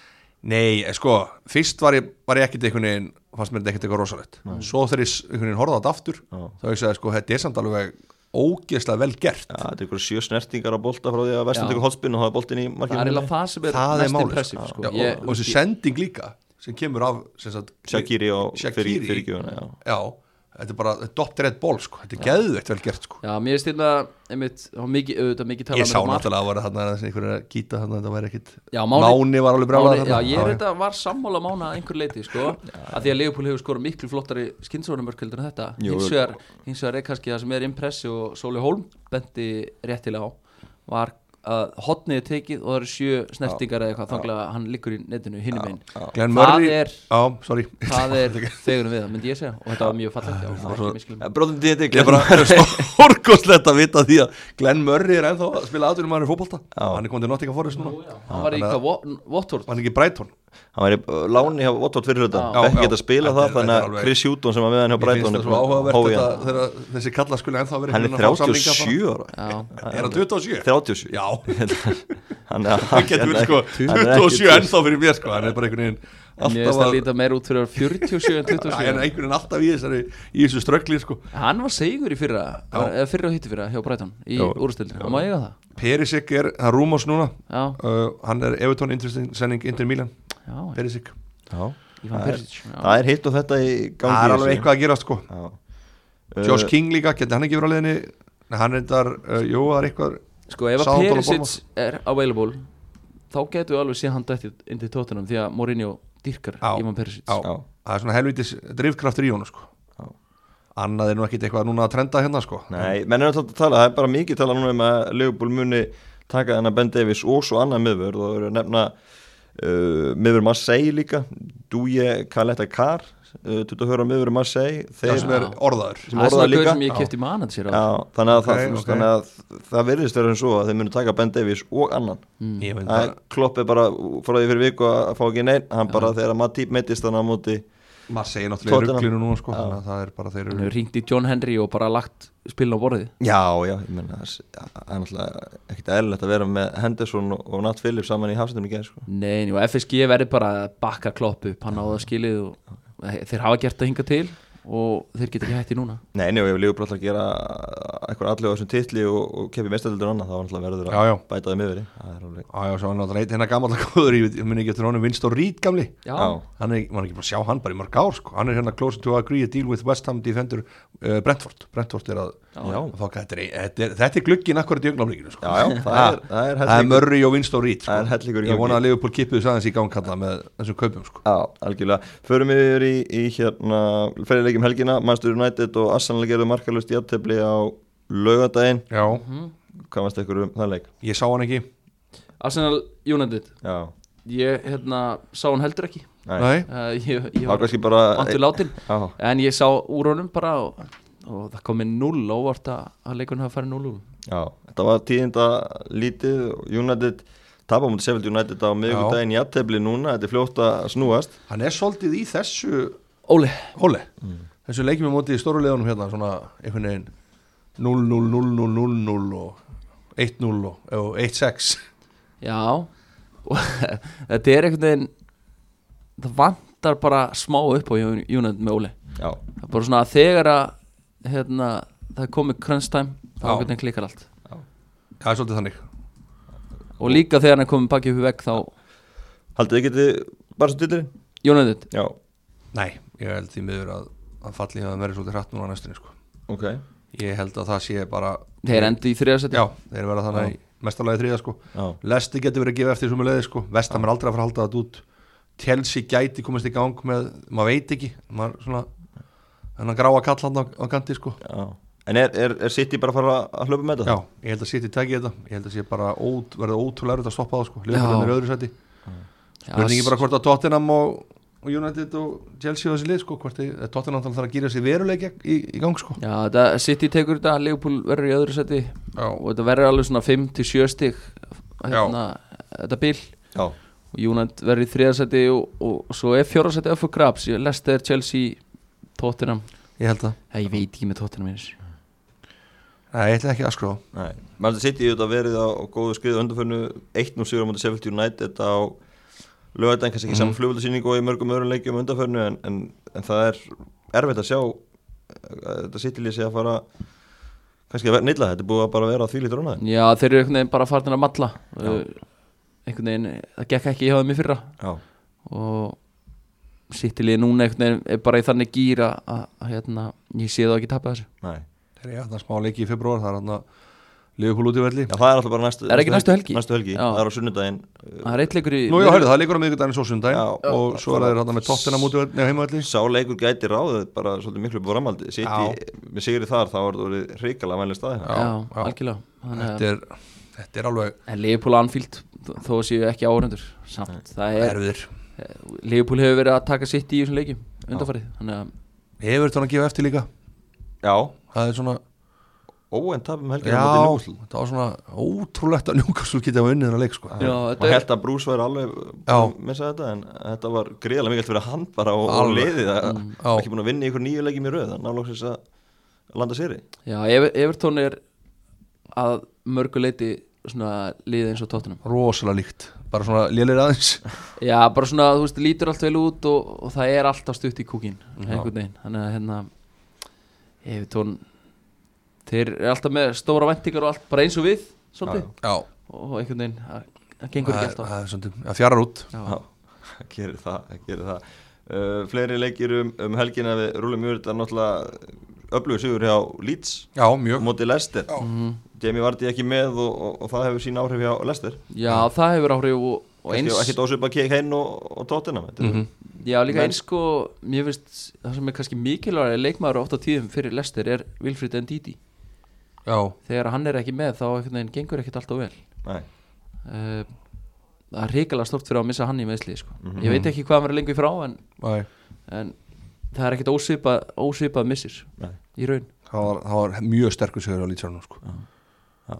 S2: Nei, eh, sko, fyrst var ég, var ég ekkert einhvern veginn, fannst mér þetta ekkert eitthvað rosalegt Svo þegar ég s- einhvern veginn horfði á þetta aftur þá ég sagði, sko, þetta er samt alveg ógeðslega vel gert
S1: Já, þetta er ykkur sjö snertingar á bolta frá því að vestum
S3: Já.
S1: tekur hotspinn og hafa boltin í
S3: það er
S1: markinu
S3: eiginlega það sem er
S2: Það er
S3: mest
S2: málið,
S3: impressive
S2: Já,
S3: sko.
S2: og,
S3: Ég-
S2: og þessi sending líka sem kemur af sem sagt,
S1: Shakiri og
S2: Shaqiri.
S1: fyrir- fyrirgjöfuna, já.
S2: Já, þetta er bara dopt redd ból, sko, þetta er geðveikt vel gert, sko
S3: Já, mér finnst þetta einmitt, það var mikið, auðvitað mikið talað um
S2: Ég sá
S3: þetta mark.
S2: náttúrulega að vera þarna aðeins einhverjum að gýta þarna, þetta væri ekkit
S3: Já, Máni-
S2: Máni, var alveg brjálað
S3: Máni, já, ég er þetta var sammála mána að einhver leiti sko, að því að Leopold hefur skorað miklu flottari skinnsvörnumörk heldur en þetta
S1: Jú,
S3: hins vegar, hins vegar er kannski það sem er impressi og Sóli Holm benti réttilega á var að hotnið er tekið og það eru sjö snertingar eða eitthvað þangilega að hann liggur í netinu hinum einn
S2: Glenn
S3: Það
S2: Murray
S3: er-
S2: Já, sorry
S3: það er þegunum við það, myndi ég segja og þetta var mjög fallegt já, ekki
S2: Eh,
S3: misskilja mig.
S1: Bróðum því þetta
S2: Ég er bara er svo horkoslegt að vita því að Glenn Murray er ennþá að spila aðvunum maður í fótbolta Hann er komið til Nottingham Forest núna
S3: hann var í hvað, Wa- Watford
S2: Hann er ekki Brighton
S1: Hann var í uh, láni hjá Votvort fyrir þetta
S2: Já,
S1: Bekki
S2: já.
S1: geta að spila
S2: Þetta
S1: það
S2: er-
S1: Þannig
S2: þetta er
S1: að
S2: alveg-
S1: Chris Hjúton sem var með hann hjá
S2: Mér finnst
S1: Breiton
S2: það svo áhugavert þetta þegar þessi kalla skulle ennþá verið
S1: Hann er 37 ára
S3: já,
S2: Er hann 27?
S1: 37
S2: Já,
S1: Hann er-
S2: það getur verið sko
S1: hann er ekki
S2: 27 ennþá fyrir mér sko Hann er bara einhvern veginn
S3: mér finnst
S2: alltaf
S3: það
S2: að
S3: líta meira út fyrir 47 en
S2: Æ, hann
S3: 27
S2: er einhvern veginn alltaf í þessari í þessu ströggli sko
S3: Hann var segur í fyrra, var, eða fyrra og hitti fyrra hjá Breiton í úrstildinu, hann má eiga það
S2: Perisik er, það er Rúmos núna
S3: Já.
S2: uh, Hann er Everton Interesting sending Inter Milan
S3: já,
S2: Perisic
S1: Já.
S3: Ivan
S1: það er-
S3: Perisic já.
S1: Það er hitt og þetta í gangi
S2: það er alveg eitthvað að gera sko
S1: Já.
S2: Josh
S1: Uh,
S2: King líka, getur hann ekki verið á leiðinni Nei, hann reyndar, uh, jú, það er eitthvað
S3: Sko ef að
S2: Southampton og
S3: Perisic er available þá getum við alveg séð hann dætti inn til tóttunum því að Mourinho dyrkar
S2: Já,
S3: Ivan Perisic
S2: já,
S1: Já.
S2: það er svona helvitis drifkraftur í honum sko
S1: Uh, Já.
S2: annað er nú ekkit eitthvað núna að trenda hérna sko
S1: Nei, menn er alltaf að tala, það er bara mikið tala núna um að Leopold muni taka þennan Ben Davies og svo annað miðvörð og eru að nefna uh, miðvörð Marseille líka Duje Kaletta Kar uh, 24 miðvörð Marseille
S2: það
S1: þeir,
S2: sem er
S3: Já.
S2: orðaður
S1: sem
S3: Það
S1: orða
S3: er svona gauð
S1: líka
S3: sem ég kefti manand sér á
S1: Já, þannig að, það,
S2: Ok, ok.
S1: þannig að það verðist verður en svo að þeir munu taka Ben Davies og annan
S3: Mm.
S2: ég veit
S1: að
S2: það,
S1: Klopp er bara frá því fyrir viku að fá ekki neinn hann bara þegar maður típ meittist þannig á móti
S2: maður segir náttúrulega í
S1: Tottenham.
S2: rugglinu núna sko þannig að það er bara þeir
S3: Hann
S2: eru
S3: hefur ringt í John Henry og bara lagt spilin á borðið
S1: Já, já, ég menna það er náttúrulega ekkert eðlilegt að vera með Henderson og, og Nat Phillips saman í hafsendum í gerð sko.
S3: Nei, og FSG verður bara að bakka klopp upp hann á það skilið og þeir hafa gert það hinga til og þeir geta ekki hætti núna
S1: Nei, nei, og ef Leopold ætlar að gera eitthvað allir á þessum titli og, og keppi mestaldildur annað þá er náttúrulega verður að
S2: Já, já.
S1: bæta þeim yfir í. Það er alveg
S2: Já, já, svo hann er náttúrulega einn hérna gammal að góður, ég veit- ég mun ekki eftir honum vinst og rít gamli
S3: Já,
S1: Já.
S2: hann er, maður er ekki bara að sjá hann bara í mörg ár sko. hann er hérna close to agree a deal with West Ham defender uh, Brentford Brentford er að,
S1: Já.
S2: að fá, þetta, er, þetta, er, þetta er glukkin akkurat í augnablikinu sko.
S1: Já, já, það er, það er
S2: það er
S1: hellingur
S2: Murray og Winston Reed sko.
S1: Það er hellingur í
S2: ég
S1: gangi.
S2: vona að Liverpool kippiðu sæðans í gang hérna með þessum kaupum sko.
S1: Já, algjörlega. Förum við yfir í, í hérna ferðilegjum helgina, Manchester United og Arsenal gerðu markalust í aðtefli á laugadaginn.
S2: já,
S1: Hvað varst ykkur um það leik?
S2: ég sá hann ekki
S3: Arsenal United
S1: Já,
S3: ég hérna, sá hann heldur ekki
S1: nei.
S2: nei,
S3: uh, ég, ég
S1: Það var
S3: var
S1: kannski bara...
S3: vantur látin
S1: Já,
S3: en ég sá úr honum bara og, og það kom með null óvart að, að leikunum hafa farið null úr
S1: já. Þetta var tíðinda lítið og United tapa mútið Sheffield United á miðvikudaginn í aðtefli núna. Þetta er fljótt að snúast.
S2: hann er svolítið í þessu
S3: Óli,
S2: hóli,
S1: Mm.
S2: þessu leikjum við mótið í stóru leðunum hérna, svona einhvern veginn 0-0-0-0-0-0 og 1-0 og- og 1-6
S3: já og þetta er einhvern veginn það vantar bara smá upp á United með Óli
S1: Já,
S3: það er bara svona að þegar að hérna, það er komið crunch time þá
S2: Já.
S3: einhvern veginn klikkar allt
S2: það er svolítið þannig
S3: og líka þegar hann er komið baki upp í vegg þá
S1: haldið þið getið bara svo titlirinn?
S3: United,
S1: Já,
S2: Nei, ég held því miður að, að falli að verði svolítið hratt núna á næstunni sko.
S1: ok
S2: Ég held að það sé bara
S3: þeir endi í þriðarsæti
S2: Já, þeir verða þannig í mestarlega þriða sko.
S1: Já,
S2: Lesti getur verið að gefa eftir sem leði sko. Vestam er aldrei að fara að halda þetta út Chelsea gæti komist í gang með maður veit ekki maður svona, hennan gráa kall hann á, á kanti sko.
S1: já En er, er, er City bara að fara að hlaupa með þetta?
S2: Já, ég held að City tæki þetta ég held að sé bara ót, verða ótrúlega erfitt að stoppa það sko. Liverpool
S3: Já.
S2: er í öðru sæti
S3: Já,
S2: Spurningi
S3: s-
S2: bara hvort að Tottenham og, og United og Chelsea og þessi lið sko, hvort þið, Tottenham þarf að gýra sér veruleik í, í gang sko.
S3: Já, þetta City tekur þetta, Liverpool verður í öðru seti
S2: Já.
S3: og þetta verður alveg svona 5-7 stig hérna, þetta bíl
S1: Já,
S3: og United verður í þriða seti og, og, og svo er fjóra seti öffu grabs, Leicester, Chelsea Tottenham,
S2: Ég held það
S3: Nei, ég veit ekki með Tottenham eins
S2: Nei, ég ætla ekki að skrá
S1: nei Manchester City auðvitað verið á, á góðu skriðu undanförnu 1-0 sigur á mútið Sheffield United á lögadaginn,
S3: Mhm.
S1: kannski ekki saman flugvöldasýningu og í mörgum öðrum leikjum undanförnu en, en, en það er erfitt að sjá eh, að þetta City lýsi að fara kannski að vera neilla, þetta er búið að bara vera því lítur annað
S3: Já, þeir eru einhvern veginn bara farin að matla Uh, einhvern veginn, það gekk ekki hjá þeim í fyrra
S1: Já,
S3: og sittilið núna einhvern veginn er bara í þannig gýra að, að hérna, ég sé það ekki tapa þessu
S1: nei
S2: Þeir eru hérna smá leiki í februar Það er hérna Liverpool út í velli
S1: Já, það er alltaf bara næstu
S3: Er ekki næstu helgi?
S1: Næstu helgi,
S3: Já.
S1: það er á sunnudaginn eh,
S3: Það er eitt leikur í
S2: Nú já, hörðu, það er leikur á miðvikudaginn svo sundaginn
S1: Já.
S2: Og svo er þeir hérna með Tottenham út í velli Nei, heimavelli
S1: Sá leikur gæti ráðið bara svolítið miklu búramaldi City, með sigri þar, þá er þetta hrikalega mælið staði
S3: Já,
S2: já.
S3: algjörlega Þannig að-
S2: Þetta er, þetta er alveg
S3: En Leopold Anfield þó- þó séu ekki áhörundur samt, það er,
S2: erfiður
S3: Leopold hefur verið að taka sitt í þessum leikjum undanfarið þannig að
S2: Hefur þetta að gefa eftir líka
S1: Já,
S2: Það er svona
S1: óen tapum
S2: Já,
S1: helgina á móti Newcastle.
S2: þetta var svona ótrúlegt að Newcastle geti að unnið þennan leik sko.
S3: Já, þetta
S1: Maður
S3: er-
S1: held að Bruce var alveg
S2: Já.
S1: með þetta en þetta var greiðlega mikilvægt fyrir hann bara og, og
S2: Alveg. Mm.
S1: liðið að
S2: Já.
S1: ekki búin að vinna í ykkur nýju leikjum í röð þannig að loksins að landa sér í
S3: já, Ever- Everton er að mörgu leiti svona liðið eins og tóttunum
S2: Rosalega líkt Bara svona lélir aðeins
S3: Já, bara svona, þú veist, lítur allt vel út og, og það er alltaf stutt í kúkin einhvern veginn, þannig að hérna Evertón þeir eru alltaf með stóra væntingar og allt bara eins og við, svolítið
S2: Já,
S3: og einhvern veginn, það- það gengur
S2: það
S3: ekki
S2: er-
S3: alltaf
S2: það er svona Það fjarar út
S3: Já.
S1: Já. hann gerir það, hann gerir það. Uh, fleiri leikir um, um helgina við rúlum yfir þetta náttúrulega öflugur sigur hjá Leeds
S2: Já, mjög
S1: móti Lester
S3: Mhm.
S1: Jamie Vardy ekki með og, og, og það hefur sín áhrif hjá Lester
S3: já, það hefur áhrif og, og
S1: eins...
S3: eins
S1: ekki dósið bara keik henn og, og tóttina mm
S2: Mhm.
S1: -hmm.
S3: Já, líka
S1: Men-
S3: eins sko, mér finnst það sem er kannski mikilvægari leikmaður oft á tíðum fyrir Lester er Wilfried Ndidi
S2: Já,
S3: þegar hann er ekki með þá einhvern veginn gengur ekkert alltaf vel
S1: Nei,
S3: uh, það er hrikalega stort fyrir að missa hann í meðsli sko. ég veit ekki hvað hann verður lengi frá en,
S2: nei
S3: en það er ekkert ósvipað, ósvipað missir
S1: Nei.
S3: í raun
S2: Það var, það var mjög sterkur sigur á Lítsarunum sko.
S1: já,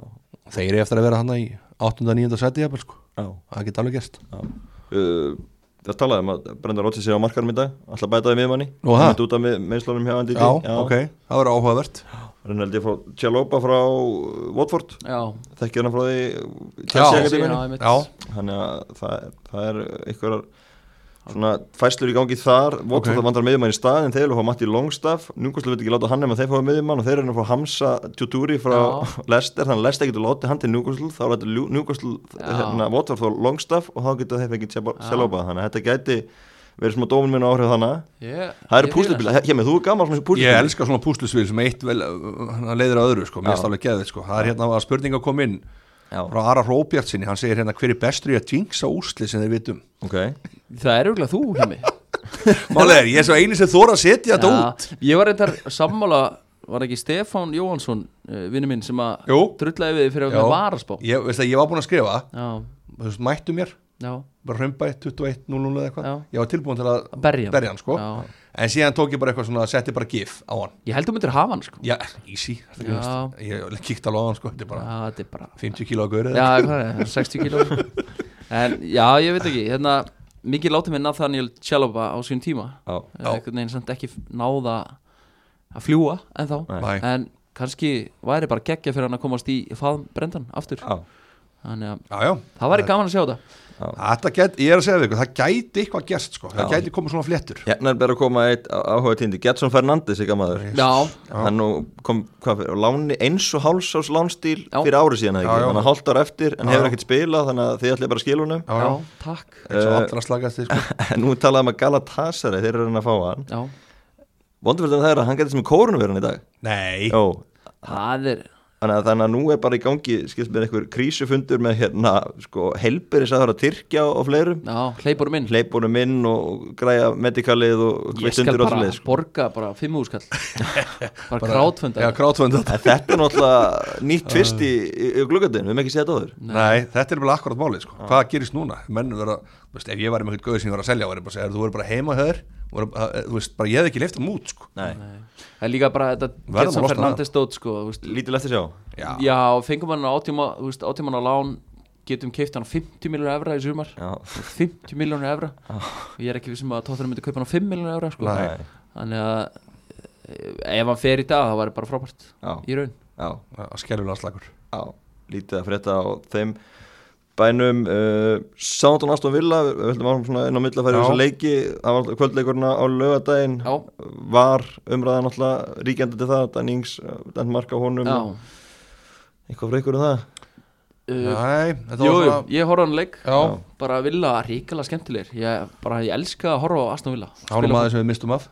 S2: Þeir eru eftir að vera hann í 8. og 9. seti jafnvel, sko.
S1: já,
S2: Það geta alveg gerst
S1: já. Uh, Það talaði um að Brendan Rodgers er á markarum í dag alltaf bætaði miðmanni
S2: Nú, ha?
S1: Hann er út af með, meðslunum hjá Andy
S2: Já, ok, það verður áhugavert
S1: Rennaldi fór Tjálópa frá uh, Watford
S3: Já,
S1: þekkir hann frá því uh,
S2: Já.
S1: Chelsea
S3: Já,
S1: Akademíunni
S3: einmitt.
S2: Já,
S1: þannig að það, er- það er einhverjar svona fæslur í gangi þar Watford
S2: Ok.
S1: það vandrar miðjumann í stað en þeir vilja fá Matti Longstaff Newcastle vil ekki láta hann nema þeir fá miðjumann og þeir eru að fá Hamza Tuturi frá
S3: Já.
S1: Leicester þannig að Leicester getur látið hann til Newcastle þá lætur Lu- Newcastle
S3: Já.
S1: hérna, Watford fá Longstaff og þá getur þeir fengið
S3: Já.
S1: Tjálópa þannig að þetta gæti verið svona dómin minn áhrif þannig
S3: ég,
S1: það eru
S3: ég fíla
S1: púslupil, hjá mig þú er gammal svona púslupil
S2: Ég elska svona púslusvíl sem eitt vel, uh, leiðir að öðru sko, mér finnst
S1: Já.
S2: alveg geðið sko. Það er hérna að spurninga kom inn
S1: Já.
S2: frá Ara Róbjartsinni, hann segir hérna hver er bestur í að tvingsa úsli sem þeir vitum
S1: okay.
S3: Það er auðvitað þú hjá mig
S2: Málið er, ég er svo eini sem þóra að setja þetta út
S3: Já, Ég var reyndar sammála var ekki Stefán Jóhansson uh, vinnu minn sem að
S2: Jú.
S3: drullaði við þig fyrir að
S2: Já.
S3: vera varaspá
S2: ég, veist það, ég var búinn að skrifa,
S3: Já,
S2: þú veist, mættu mér
S3: já,
S2: bara hraumbætt 21.00 eða eitthvað
S3: Já.
S2: ég var tilbúin til að
S3: berja hann.
S2: berja hann sko.
S3: Já.
S2: en síðan tók ég bara eitthvað svona, setti bara gif á hann
S3: ég held þú myndir hafa hann sko
S2: já, easy, þetta
S3: Já.
S2: grínast. ég kíkti alveg á hann sko, þetta er bara
S3: Já, þetta er bara
S2: 50 kíló að gaurið
S3: Já, hvað er það, 60 kíló En já, ég veit ekki, hérna mikið látið með Nathaniel Chalobah á sín tíma
S1: Já.
S3: Eh, einhvern veginn samt ekki náða að fljúa en þá
S2: Nei.
S3: en kannski væri bara geggja fyrir hann að komast í faðm brendan aftur
S1: Já.
S3: þannig að
S2: já, já.
S3: það væri gaman að sjá þetta
S2: Þetta Gæt, ég er að segja við ykkur, það gæti eitthvað gerst sko. það
S1: Já.
S2: gæti komið svona fléttur
S1: Hérna er bara að koma eitt áhuga tíndi Getson Fernandes, ekki maður
S3: Já,
S1: hann nú kom hvað fyrir, á láni eins og hálsás lánstíl
S3: Já.
S1: fyrir ári síðan eða
S2: Já,
S1: ekki,
S2: já.
S1: þannig að hálft ára eftir en
S2: Já, já.
S1: hefur ekkert spilað þannig að þið ætlaði bara að skilja húnum
S2: já,
S3: já, Uh, takk
S2: eins og allra slagast sko.
S1: en nú talaðum að Galatasaray, þeir eru að reyna að fá hann
S3: Já,
S1: vondurverðan það er að hann getur sem kórunverðan í dag
S2: nei,
S1: Jó,
S3: það er
S1: þannig að, þannig að nú er bara í gangi skilst með einhver krísufundur með hérna sko, helberis að það er að Tyrkja og fleirum
S3: Já, hleypur minn
S1: hleypunum inn og græja medikalið og
S3: Ég skal
S1: kvittundur og
S3: bara
S1: svoleiðis, sko.
S3: borga bara fimm úrskall Bara krátfunda
S2: já, krátfönda
S1: En þetta er náttúrulega nýtt tvist í, í, í gluggatinn, við hefum ekki séð þetta áður
S2: Nei, þetta er bara akkurat málið sko. Hvað gerist núna? Menn vera, þú veist, ef ég væri með eitthvað gauð sem ég var að selja, væri bara að segja, "Heyrðu, þú verður bara heima höður, þú veist, bara ég hef ekki leift hann út, sko.
S1: Nei,
S3: Það er líka bara þetta
S2: Verðum að
S3: Getson
S2: losna
S3: Fernandes dót sko þú veist.
S1: lítil eftir sjá
S2: Já,
S3: Já, fengum hann á átjúma Þú veist, átjúman á lán Getum keift hann á 50 miljónu evra í sumar
S1: Já,
S3: 50 miljónu evra og Ég er ekki vissum að tóttunum myndi kaupa hann á 5 miljónu evra sko.
S2: Nei.
S3: Þannig að eh, Ef hann fer í dag, það væri bara frábært
S1: já,
S3: Í raun
S1: já,
S2: að skellulega slagur.
S1: já Lítið að frétta á þeim bænum uh, Sándon Aston Villa, við við höldum áfram svona inn á millafæri
S2: Já.
S1: þessu leiki, það var kvöldleikurna á lögadaginn
S3: Já,
S1: var umræðan alltaf ríkjandi til það, Dannings dæmt marka honum,
S3: já
S1: eitthvað frá ykkur um það
S3: Uh,
S2: Nei, þetta
S3: Jú,
S2: var svona,
S3: ég horfði á hann leik
S2: já,
S3: bara Villa ríkala skemmtilegir ég, bara, ég elska að horfa á Aston Villa
S2: hálfum
S3: Spila
S2: maður sem við mistum af,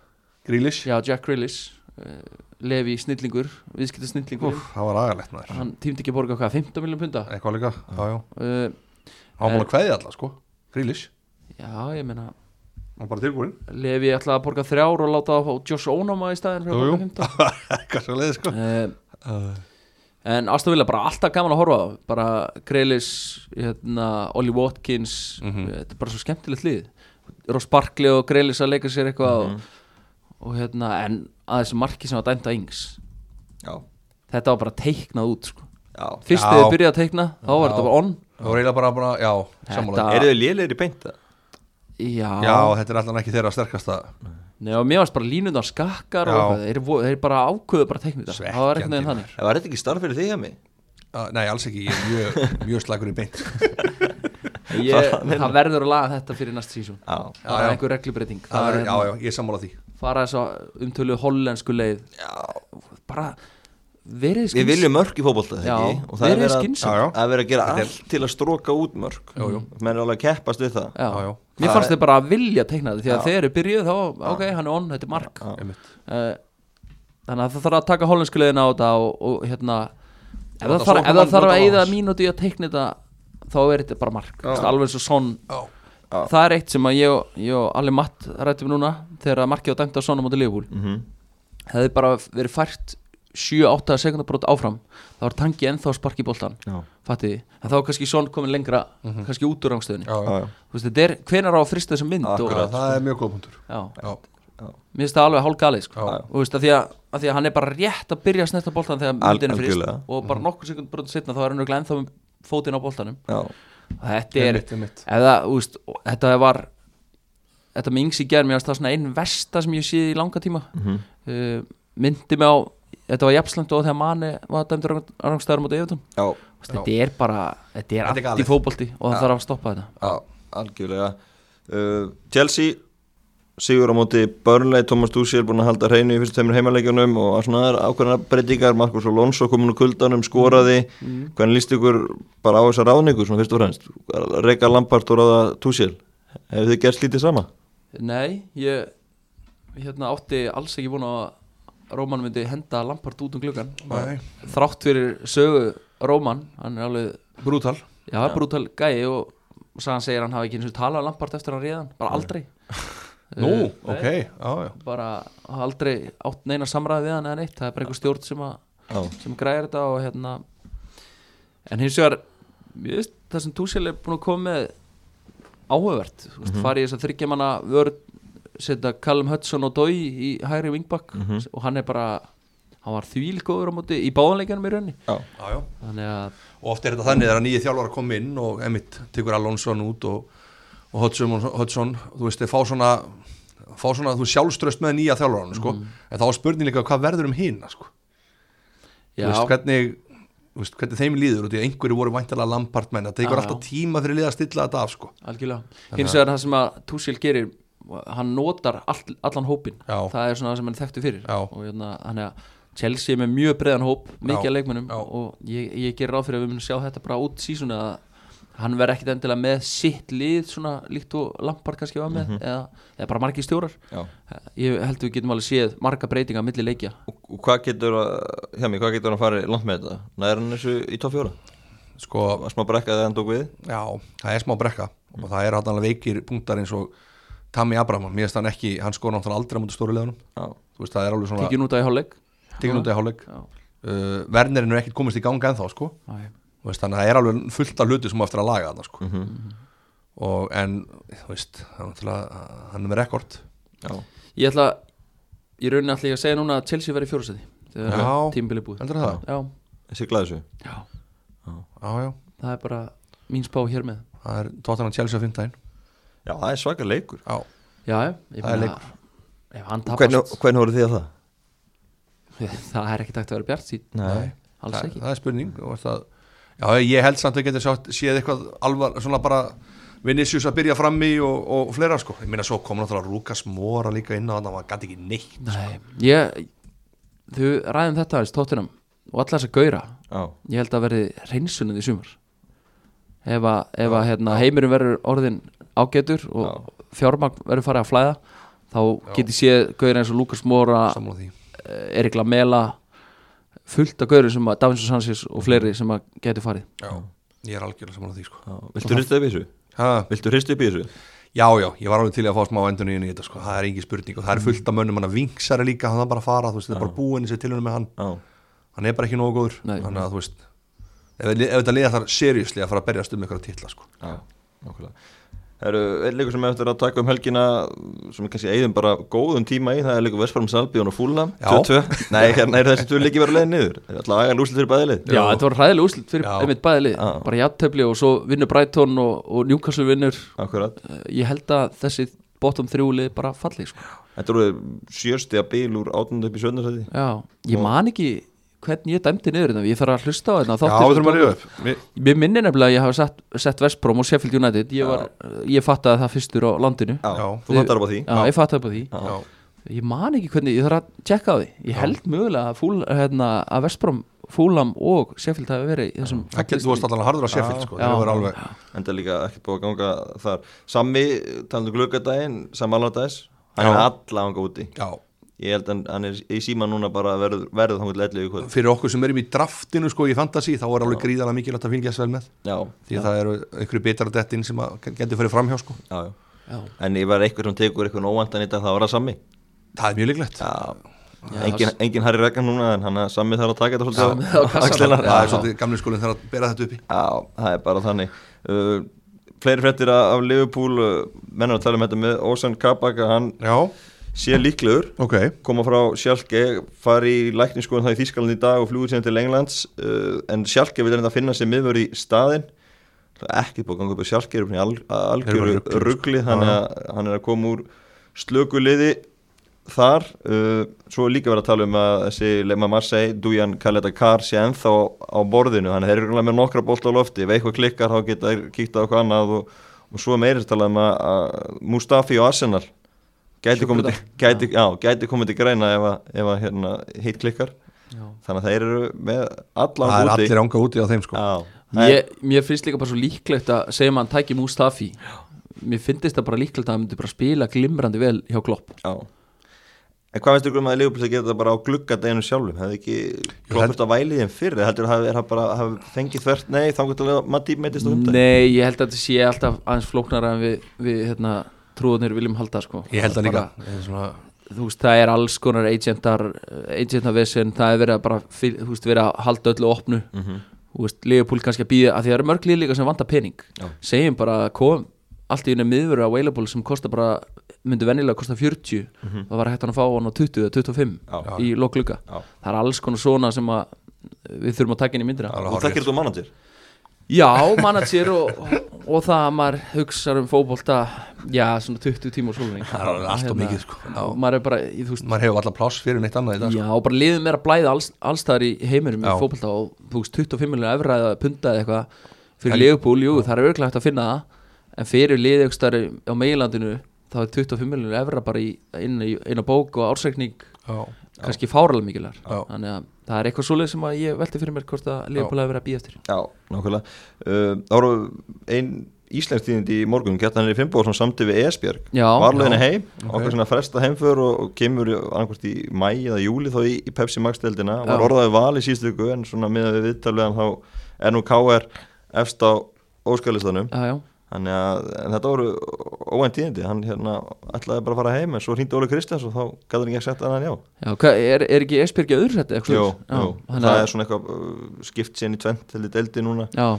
S2: Grealish,
S3: Já, Jack Grealish uh, Levi snillingur, viðskipta snillingur
S2: Úff, það var agalegt maður.
S3: hann týmdi ekki að borga hvað, 15 miljón punda
S2: Eitthvað líka, já, já.
S3: uh,
S2: Hann var búin að kveðja alla, sko, Grealish,
S3: Já, ég meina
S2: hann var bara tilbúin.
S3: Levi ætlaði að borga þrjár og láta á Josh Onoma í staðin fyrir
S2: Jú,
S3: að borga
S2: jú,
S3: 15
S2: eitthvað svo leiði, sko.
S3: uh,
S2: Uh,
S3: En Aston Villa bara alltaf gaman að horfa á bara Grealish, hérna, Ollie Watkins
S2: Mhm.
S3: eh, þetta er bara svo skemmtilegt lið Ross Barkley og Grealish að leika sér eitthvað
S2: Mhm.
S3: og, og hérna, en að þessu marki sem var dæmt á yngs
S1: Já,
S3: þetta var bara teiknað út sko.
S1: já
S3: Fyrst
S2: Já.
S3: þegar þið byrjaði að teikna, þá
S2: Já.
S3: var þetta bara on
S2: það var eiginlega bara, bara já, sammála.
S3: Þetta-
S1: Eru þau lélegir í beinta?
S3: Já,
S2: Já, þetta er allan ekki þeirra sterkasta
S3: Nei, og mér varst bara línundar skakkar
S2: Já.
S3: og eitthvað. þeir, vo- þeir bara ákveðu bara teiknið þetta Það var ekkert
S2: Svekkjandi
S3: neginn þannig
S1: Var þetta ekki starf fyrir þig að mig?
S2: Uh, nei, alls ekki, ég er mjög, mjög slagur í beint
S3: ég, Það verður að laga þetta fyrir næst sísón
S1: Já,
S3: Það
S2: já.
S3: er einhver reglubreiting
S2: Það
S3: Það
S2: verður-
S3: er
S2: Já, já, ég er sammála því
S3: fara þess að umtölu hollensku leið Já Bara verið
S1: Við viljum mörk í fótbolta
S3: Já,
S1: þegar ekki og það er
S3: verið
S1: verið að,
S3: skynsamt.
S2: Já, já.
S1: að, vera að gera allt til að stróka út mörk
S2: Jú, jú.
S1: menn er alveg að keppast við það
S3: Já,
S2: Já, já.
S3: Mér
S1: Það
S3: fannst
S1: er-
S3: þeir bara að vilja teikna þetta Því að
S1: Já.
S3: þeir eru byrjuð þá, ok, hann er on, þetta er mark
S1: Já.
S2: einmitt.
S3: Eh, Þannig að það þarf að taka hollensku leiðina á þetta og, og hérna
S2: Nota
S3: Ef það þarf, ef
S2: sóknarmann,
S3: það þarf
S2: nota
S3: að eyða
S2: Valens.
S3: mínúti í að teikna þetta þá er þetta bara mark Þú veist, Alveg eins og son
S2: Já.
S1: Já.
S3: Það er eitt sem að ég, og- ég og allir matt rættum núna þegar að markið á dæmt á sonum á til Liverpool
S1: Mhm.
S3: hefði bara verið fært 7-8 sekundabrót áfram þá var tangi ennþá sparki bóltan
S1: Já. Mhm.
S3: fattiði, en þá var kannski Son komin lengra kannski út úr rangstöðinni
S2: Já,
S1: Já, já.
S3: Þú veist, þetta er, hvenar á að frista þessa mynd
S2: já,
S1: Akkurat.
S3: og,
S2: það er mjög góð punktur
S3: já,
S2: Já,
S3: mér finnst það alveg hálgalið sko.
S2: já,
S1: Já.
S3: og þú veist, að því, að, að því að hann er bara rétt að byrja að snetta bóltan þegar
S1: Al-
S3: myndin er frist
S1: algjörlega. Mhm.
S3: og bara nokkur sekundabrót setna þá er hann örugglega ennþá með fótinn á bóltanum
S1: Já.
S3: þetta er,
S2: Einmitt, einmitt.
S3: eða, úst, þetta var þetta með yngs í gerð, mér finnst það svona einn versta sem ég séð í langa tíma uh, myndi mig á þetta var jafnslangt og þegar manni var dæmdur rangstæður mútið yfirtum
S1: Já.
S3: þetta er bara,
S2: Þetta
S3: þetta er
S2: er
S3: allt í
S2: galið.
S3: fótbolti og það þarf að stoppa þetta
S1: Já, algjörlega uh, Chelsea Sigur á móti Burnley, Thomas Dussi er búin að halda hreinu í fyrstu tveimur heimaleikjunum og svona aðra ákveðna breytingar, Markus Alonso komin úr kuldanum, skoraði, hvernig líst ykkur bara á þessa ráðningu svona fyrst og fremst Reka Lampart og ráða Dussi hefur þið gert slítið sama?
S3: Nei, ég hérna átti alls ekki vona að Róman myndi henda Lampard út um gluggan
S2: Nei.
S3: þrátt fyrir sögu Róman hann er alveg,
S2: Brútal
S3: já, brútal gæi og sagan segir hann hafi ekki eins og talað um Lampard eftir að hann réðan, bara aldrei
S2: Nú,
S3: Eh,
S2: ok,
S3: nei,
S2: já, já
S3: bara hafa aldrei átt neina samræði við hann eða neitt, það er bara einhver stjórn sem, að,
S1: Já,
S3: sem græðir þetta og hérna en hins vegar ég veist, það sem Túsil er búin að koma með áhugavert, þú
S2: Mhm.
S3: veist, farið þess að þryggja manna vörð, setja Callum Hudson og Dói í hægri vingbakk
S2: Mhm.
S3: og hann er bara, hann var þvílgóður á móti í báðanleikanum í raunni
S1: já,
S2: Já, já
S3: þannig að,
S2: og oft er þetta þannig þegar nýju þjálfara kom inn og emitt tekur Alonson út og, og Hudson, Hudson, þú veist, þeir fá svona fá svona, þú veist, sjálfströst með nýja þjálfaran sko,
S3: Mm.
S2: en þá er spurning líka hvað verður um hinn sko, þú
S3: já,
S2: veist, hvernig þú veist, hvernig þeim líður, út í einhverju voru væntalega lampartmenn, það tekur
S3: Já,
S2: alltaf tíma fyrir liða að stilla þetta af, sko
S3: algjörlega hins vegar það sem að Túsil gerir hann notar all, allan hópin
S2: Já.
S3: það er svona það sem hann er þekktu fyrir
S2: Já.
S3: og hérna, hann er að Chelsea er með mjög breiðan hóp mikið
S2: Já.
S3: að leikmönnum
S2: Já.
S3: og ég, ég gerir ráð fyrir að við munum sjá þetta bara út sísuna að hann verður ekkit endilega með sitt lið svona líkt og Lampard kannski var
S2: Mhm.
S3: með eða, eða bara margir stjórar
S1: já.
S3: ég held við getum alveg séð marga breytinga milli leikja
S1: Og, og hvað getur að, hjá mig, hvað getur að fara langt með þetta? Næður hann þessu í topp fjóra?
S2: sko,
S1: Var smá brekka þegar hann tók við?
S2: já, það er smá brekka og það er hann alveg veikir punktar eins og Tammy Abraham, mér finnst hann ekki, hann skor náttúrulega aldrei á mútu stóru liðanum,
S1: Já,
S2: þú veist, það er alveg svona
S3: tekið núta í hálfleik
S2: tekinn út í hálfleik
S3: Já.
S2: uh, Vernerinn er ekkert komist í ganga ennþá sko.
S3: Æ.
S2: Þú veist, þannig að það er alveg fullt af hluti sem á eftir að laga þarna sko. og en þú veist, hann, er náttúrulega- hann er með rekord
S1: já,
S3: ég ætla í rauninni ætla ég að segja núna að Chelsea verður í fjórasæti þegar
S2: Já.
S3: tímbilið búið
S2: heldur það?
S3: Já.
S1: siglaði þessu
S3: Já.
S2: Já, já,
S3: það er bara mín spá hér með
S2: það er Tottenham Chelsea á fimmtæðin
S1: Já, það er svaka leikur
S2: Já,
S3: já, já, ég
S2: Það er
S3: meina ef hann
S1: Hvernig,
S3: tapast,
S1: hvernig voru þið að það?
S3: það er ekkert hægt að vera bjart sín
S1: Nei.
S3: alls
S2: það,
S3: ekki
S2: það er spurning og það, Já, ég held samt að getur sátt, séð eitthvað alvar, svona bara Vinicius að byrja frammi og, og fleira sko Ég meina svo kom náttúrulega Rúkas Móra líka inn á þannig að hann gæti ekki neitt
S3: Nei. ég, þau ræðum þetta aðeins tóttinam og allar þess að gauðra
S1: Já,
S3: ég held að verði reynsunnið í sumar ef að, ef að hérna, heimurum verður orðin ágætur og fjármagn verður farið að flæða þá get ég séð gauður eins og Lukas Móra
S2: Sammála því
S3: Erik Lamela fullt af gauður sem að Davinson Sanchez og fleiri sem að getur farið
S2: Já, ég er algjörlega sammála því sko
S1: já. Viltu hrista upp í þessu?
S2: Ha,
S1: Viltu hrista upp í þessu?
S2: Já, já, ég var alveg til í að fá smá endurníðin í þetta sko. það er engin spurning og það er fullt af mönnum hann að vingsar er líka, hann er bara að fara, þú veist, þetta er bara búin sér tilhörnum með hann,
S1: Já,
S2: hann er bara ekki nógu góður
S3: Nei.
S2: þannig að þú veist ef, ef þetta liða þar seriously að fara að berjast um ykkur að titla sko.
S1: já, okkurlega Það eru einn leikur sem við eftir að taka um helgina sem er kannski eigðum bara góðum tíma í það er leikur Vestfarm Salbjón og Fúlam
S2: Já.
S1: 22, nei hérna er þessi tvö leiki verið leiðin niður Það er alltaf agan úslit fyrir bæði leið
S3: Já, þetta var ræðileg úslit fyrir
S2: Já.
S3: einmitt bæði lið
S1: Já.
S3: bara játtöfli og svo vinnur Brighton og, og Newcastle vinnur
S1: Akkurat,
S3: Eh, ég held að þessi bottom þrjú lið bara falli sko.
S1: þetta voru sjösti að bíl úr áttundu upp í sjöndasæti
S3: Já, ég man ekki hvernig ég dæmdi niður þetta, ég þarf að hlusta á þetta
S2: Já, við þurfum að ríða upp Við-
S3: Mér minni nefnilega að ég hafa sett, sett Vestbrom og Sheffield United ég, var, ég fattaði það fyrstur á landinu
S1: Já,
S2: Já.
S1: þú fattar upp á því
S3: Já, ég fattaði upp á því
S2: Já,
S3: ég man ekki hvernig, ég þarf að tjekka á því ég held mögulega að, fúl, hérna, að Vestbrom, Fúlam og Sheffield hafi verið í þessum
S2: Það getur þú varst allan harður að Sheffield sko, þeir voru alveg
S1: en það er líka ekkert búið að ganga þar um Sammi, talandu glöggadaginn Sammi Allardæs, hann
S2: Já.
S1: er alla hanga úti
S2: Já,
S1: ég held að hann er í síma núna bara að verð, verður þangut leitlega í kvöld
S2: fyrir okkur sem erum í draftinu sko í fantasy þá er alveg gríðarlega mikilvægt að fylgjast vel með
S1: já,
S2: því að það eru einhverju betra dettin sem að getur farið framhjá sko
S1: já, já.
S3: Já.
S1: en ef það er eitthvað sem tekur eitthvað óvandan í dag það var það Sammi
S2: það er mjög líklegt
S1: já. engin, engin Harry Regan núna en hann að Sammi þarf að taka þetta svolítið
S3: Sammi á
S1: á- á
S3: kassann.
S1: axlirnar.
S2: það
S3: Já.
S2: er svolítið gamli skólinn þegar að bera þetta uppi
S1: Já, það er bara þannig uh, Fleiri fréttir af af Liverpool uh, menn eru að tala um þetta með Ozan Kabak að hann
S2: Já,
S1: sé líklegur
S2: ok
S1: koma frá Schalke, fari í lækningsskoðun það í Þýskalandi í dag og fljúið síðan til Englands uh, en Schalke vil reynda að finna sér miðvörð í staðinn Það er ekki búið að ganga upp á Schalke er upp í al,
S2: Eru
S1: algjöru
S2: bara rugli,
S1: ruggli
S2: sko.
S1: þannig að hann er að koma úr slökuliði þar uh, svo er líka verið að tala um að þessi Lema Marseille, Dujan Kaleta Kar sé ennþá á borðinu, þannig að þeir eru örugglega með nokkra bólt á lofti, ef eitthvað klikkar þá geta þeir kíkt á eitthvað annað og, og svo meirist tala um að, að Mustafi og Arsenal gæti komið til, gæti, já, gæti komið til greina ef að, ef að hérna, hitt klikkar
S3: Já.
S1: þannig að þeir eru með allan
S2: Það er
S1: úti
S2: allir ánga úti á þeim sko
S1: Já, það er-
S3: Ég, mér finnst líka bara svo líklegt að segja maður hann tæki Mustafi mér finnst það bara líklegt að hann myndi bara spila glimrandi vel hjá Klopp
S1: Já En hvað veistu ykkur um að Leopold að gera þetta bara á gluggadeginu sjálfum? Hefði ekki kloppast að væli þeim fyrir? Heldur það er það bara að hafa fengið þvert nei þangur til að Matti meitist á
S2: um
S1: hundar?
S3: Nei, ég held að þetta sé alltaf aðeins flóknara en við, við hérna, trúðunir viljum halda sko.
S2: Ég held það líka
S3: bara,
S2: Það er svona-
S3: þú veist, það er alls konar agentar agentavesen, það er verið að bara fyl- þú veist, verið að halda öllu opnu
S2: Mhm.
S3: þú veist, Leopold kannski að býða, að því það eru mörg lið líka sem vantar pening,
S1: Já.
S3: segjum bara að kom allt í einu miðvöru á Available sem kostar bara, myndi venjulega kosta 40
S2: Mhm.
S3: það var hægt hann að fá hann á 20 eða 25
S1: Já.
S3: í lokluga
S1: Já.
S3: það er alls konar svona sem að við þurfum að taka inn í myndina
S2: Alveg.
S1: Þú þekkir þetta um manager?
S3: Já, manager og, og það að maður hugsar um fótbolta já, svona 20 tíma og svolning
S2: Það er alveg allt of mikið, sko. Já.
S3: og maður er bara, í, þú veist,
S2: Maður hefur alltaf pláss fyrir neitt annað í dag sko.
S3: já, bara liðum er að blæða alls, allstaðar í heiminum
S2: Já.
S3: í fótbolta og þú veist, 25 miljonar evra eða punda eða eitthvað fyrir Leopold, jú, það er örglega hægt að finna það en fyrir liðið ykkur starri á meilandinu þá er 25 miljonar evra bara í, inn, í, inn á bók og ársækning
S2: Já.
S3: kannski fáralega mikilar
S2: Já.
S3: þannig að það er eitthvað svoleið sem að ég velti fyrir mér hvort að Leopold hafi verið að býja eftir
S1: Já, nákvæmlega uh, Það voru ein íslensk tíðindi í morgun Kjartan er í Fimboðsson samti við Esbjörg
S3: Já.
S1: Varleginu heim, okkur svona fresta heimför og, og kemur annarkvort í mæ eða júli þá í, í Pepsi Max-deldina var
S3: Já.
S1: orðaði val í síðustu viku en svona miðað við viðtalvegan þá er nú KR efst á óskalistanum
S3: Já, já,
S1: Þannig að en þetta voru óvænt tíðindi, hann hérna ætlaði bara að fara heim en svo hringdi Óli Kristjáns og þá gæði hann ekki að setja hann já.
S3: Já, hva, er, er ekki Esbjörg í öðru seti? eitthvað
S1: Jú, jú,
S3: svoleiðis? já,
S1: það er svona eitthvað uh, skipt sérn í tvent til þið deldi núna
S3: Já,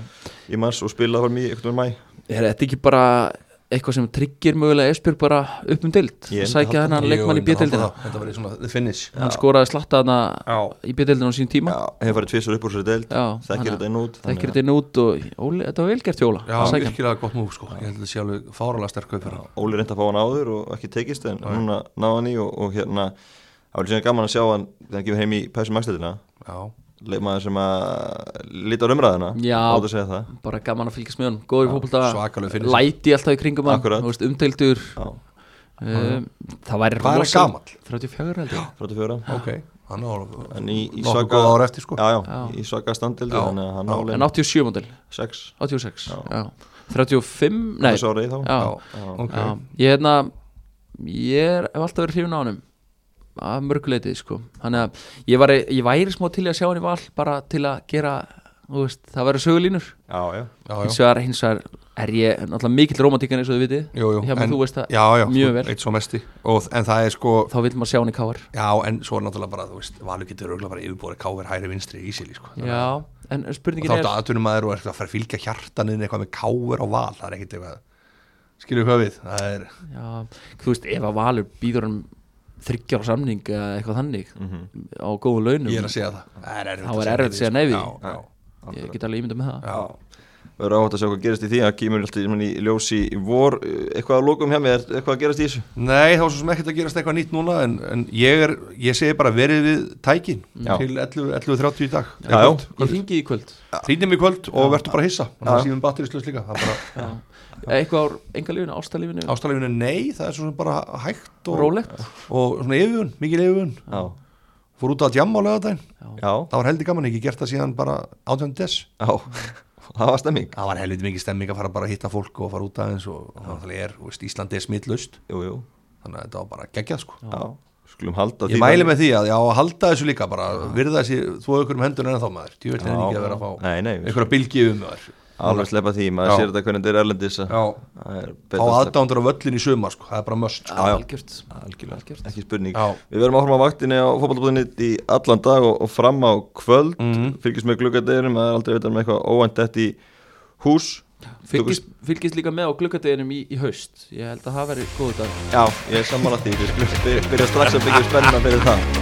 S1: í mars og spilaði var mjög eitthvað mæ.
S3: er þetta ekki bara eitthvað sem tryggir mögulega Esbjörg bara upp um dild?
S1: Ég myndi
S3: Sækja
S2: Jú,
S3: hennan leikmann í
S2: ég myndi halda
S3: bjöldildina?
S2: það. Þetta var svona the finish
S3: Hann skoraði slatta hana
S2: Já.
S3: í bjöldildina á sín tíma?
S1: Já, hefur farið tvisar upp úr sér deld,
S3: Já,
S1: þekkir
S3: þannig að-
S1: þetta inn og út. þannig að
S3: Þekkir þetta inn út og Óli, þetta var velgert hjóla
S2: Já, virkilega gott múf sko Ég held að þetta sé alveg fáralega sterk upp fyrir
S1: Óli reyndi að fá hann áður og ekki tekist en núna náði hann í og, og hérna, það var síðan gaman að sjá hann þegar hann gefur heim í Pepsi Max-deldina,
S2: Já,
S1: leikmaður sem að lítar umræðina,
S3: Já.
S1: átt að segja það.
S3: Bara gaman að fylgjast með hann, góður í fótbolta,
S2: svakalegur fyrir sig.
S3: læti alltaf í kringum hann,
S1: Akkurat.
S3: þú veist, umdeildur,
S1: Já,
S3: um, það
S2: Hvað
S3: væri
S2: er hann
S3: rosa-
S2: gamall?
S3: 34 held ég.
S1: 34.
S2: ok Hann á
S1: En í, í
S2: nokkuð góð ára eftir sko
S1: Já, já,
S3: Já.
S1: í svaka standildi
S2: Já.
S1: Þannig að hann
S2: Já.
S3: En
S1: álega
S3: 87 model,
S1: 6
S3: 86,
S1: Já.
S3: já. 35, nei,
S1: Þessu árið þá
S3: já,
S2: ok
S3: Já, ég hérna ég er, hef alltaf verið hrifin á honum að mörguleitið sko þannig að ég, var, ég væri smá til í að sjá hann í val bara til að gera þú veist, það verður sögulínur
S1: Já, já
S2: Já,
S3: hins
S2: já
S3: vegar, hins vegar er ég náttúrulega mikill romantikan eins og þið vitið
S2: Jú, jú,
S3: Hjá mér, þú veist það
S2: já, já,
S3: mjög
S2: þú-
S3: vel
S2: Eitt svo mesti og, En það er sko
S3: þá vil maður sjá hann í káar
S2: Já, en svo er náttúrulega bara, þú veist, Valur getur auðvitað bara yfirbúrið káver hæri vinstri í síli, sko
S3: já, en
S2: Og
S3: spurningin
S2: þá
S3: er
S2: ertu aðtunum maður og er eitthvað að fara að fylgja hjartanin eitthvað með káver og val, það er ekkit eitthvað Skilur við höfið, það er
S3: já, þú veist, ef að Valur býður hann þryggjar á samning eða eitthvað þannig
S2: Mhm.
S3: á góðu launum
S2: Ég er að segja það Það er erfitt
S3: Þá er erfitt að segja nei við.
S2: Já, já,
S3: ég get alveg ímynda með það
S2: já,
S1: Uh, verður áhætt að sjá hvað gerist í því það kemur alltaf í í ljós í í vor Eh, eitthvað að lokum hjá mig, er eitthvað að gerast í þessu
S2: Nei, þá er svo sem ekkert að gerast eitthvað nýtt núna en, en ég, er, ég segi bara verið við tækin
S1: Já.
S2: til 11 11.30 í dag
S1: Já, já.
S3: Ég ringi í kvöld
S2: Þrýnum í kvöld og verður bara hissa og
S1: Já.
S2: það síðan batterislaus líka Það er bara
S3: Eh, Eitthvað á engalífinu, ástalífinu
S2: ástæðlefinu nei, það er svo sem bara hægt og,
S3: Rólegt
S2: og svona yfirvun, mikil yfirvun
S1: Já,
S2: Fór út að djamma á lögadaginn
S1: já,
S2: Það var heldig gaman, ekki gert það síðan bara 18. des
S1: já það var stemming
S2: Það var helviti mikið stemming að fara bara að hitta fólk og fara út aðeins og, og það er, þú veist, Íslandi er smittlaust
S1: Jú, jú,
S2: þannig að þetta var bara geggjað sko
S1: já, skulum halda
S2: Ég mæli með því að já, að halda þessu líka bara virða þessi þvó ykkur um hendur en þá maður Ég vil ekki að vera að fá
S1: Nei, nei, við
S2: einhverja bylgi um maður
S1: skulum alveg sleppa því, maður
S2: Já.
S1: sér þetta hvernig þetta er erlendis að-
S2: Já,
S1: það er
S2: fá
S1: betra að sleppa-
S2: aðdándur á völlin í sumar sko, það er bara möst sko.
S1: já.
S3: Algjört Algjört
S1: ekki spurning
S2: Já.
S1: Við verum áfram á vaktinni á fótballbúðinni í allan dag og, og fram á kvöld
S2: Mhm.
S1: fylgjast með gluggadeginum, maður er aldrei að vita með eitthvað óvænt þetta í hús
S3: Fylgist, fylgist líka með á glukkadeginum í, í haust Ég held að það veri góðu dag
S1: Já, ég er sammála því, við skulum by- byrja strax að byggja spennina fyrir það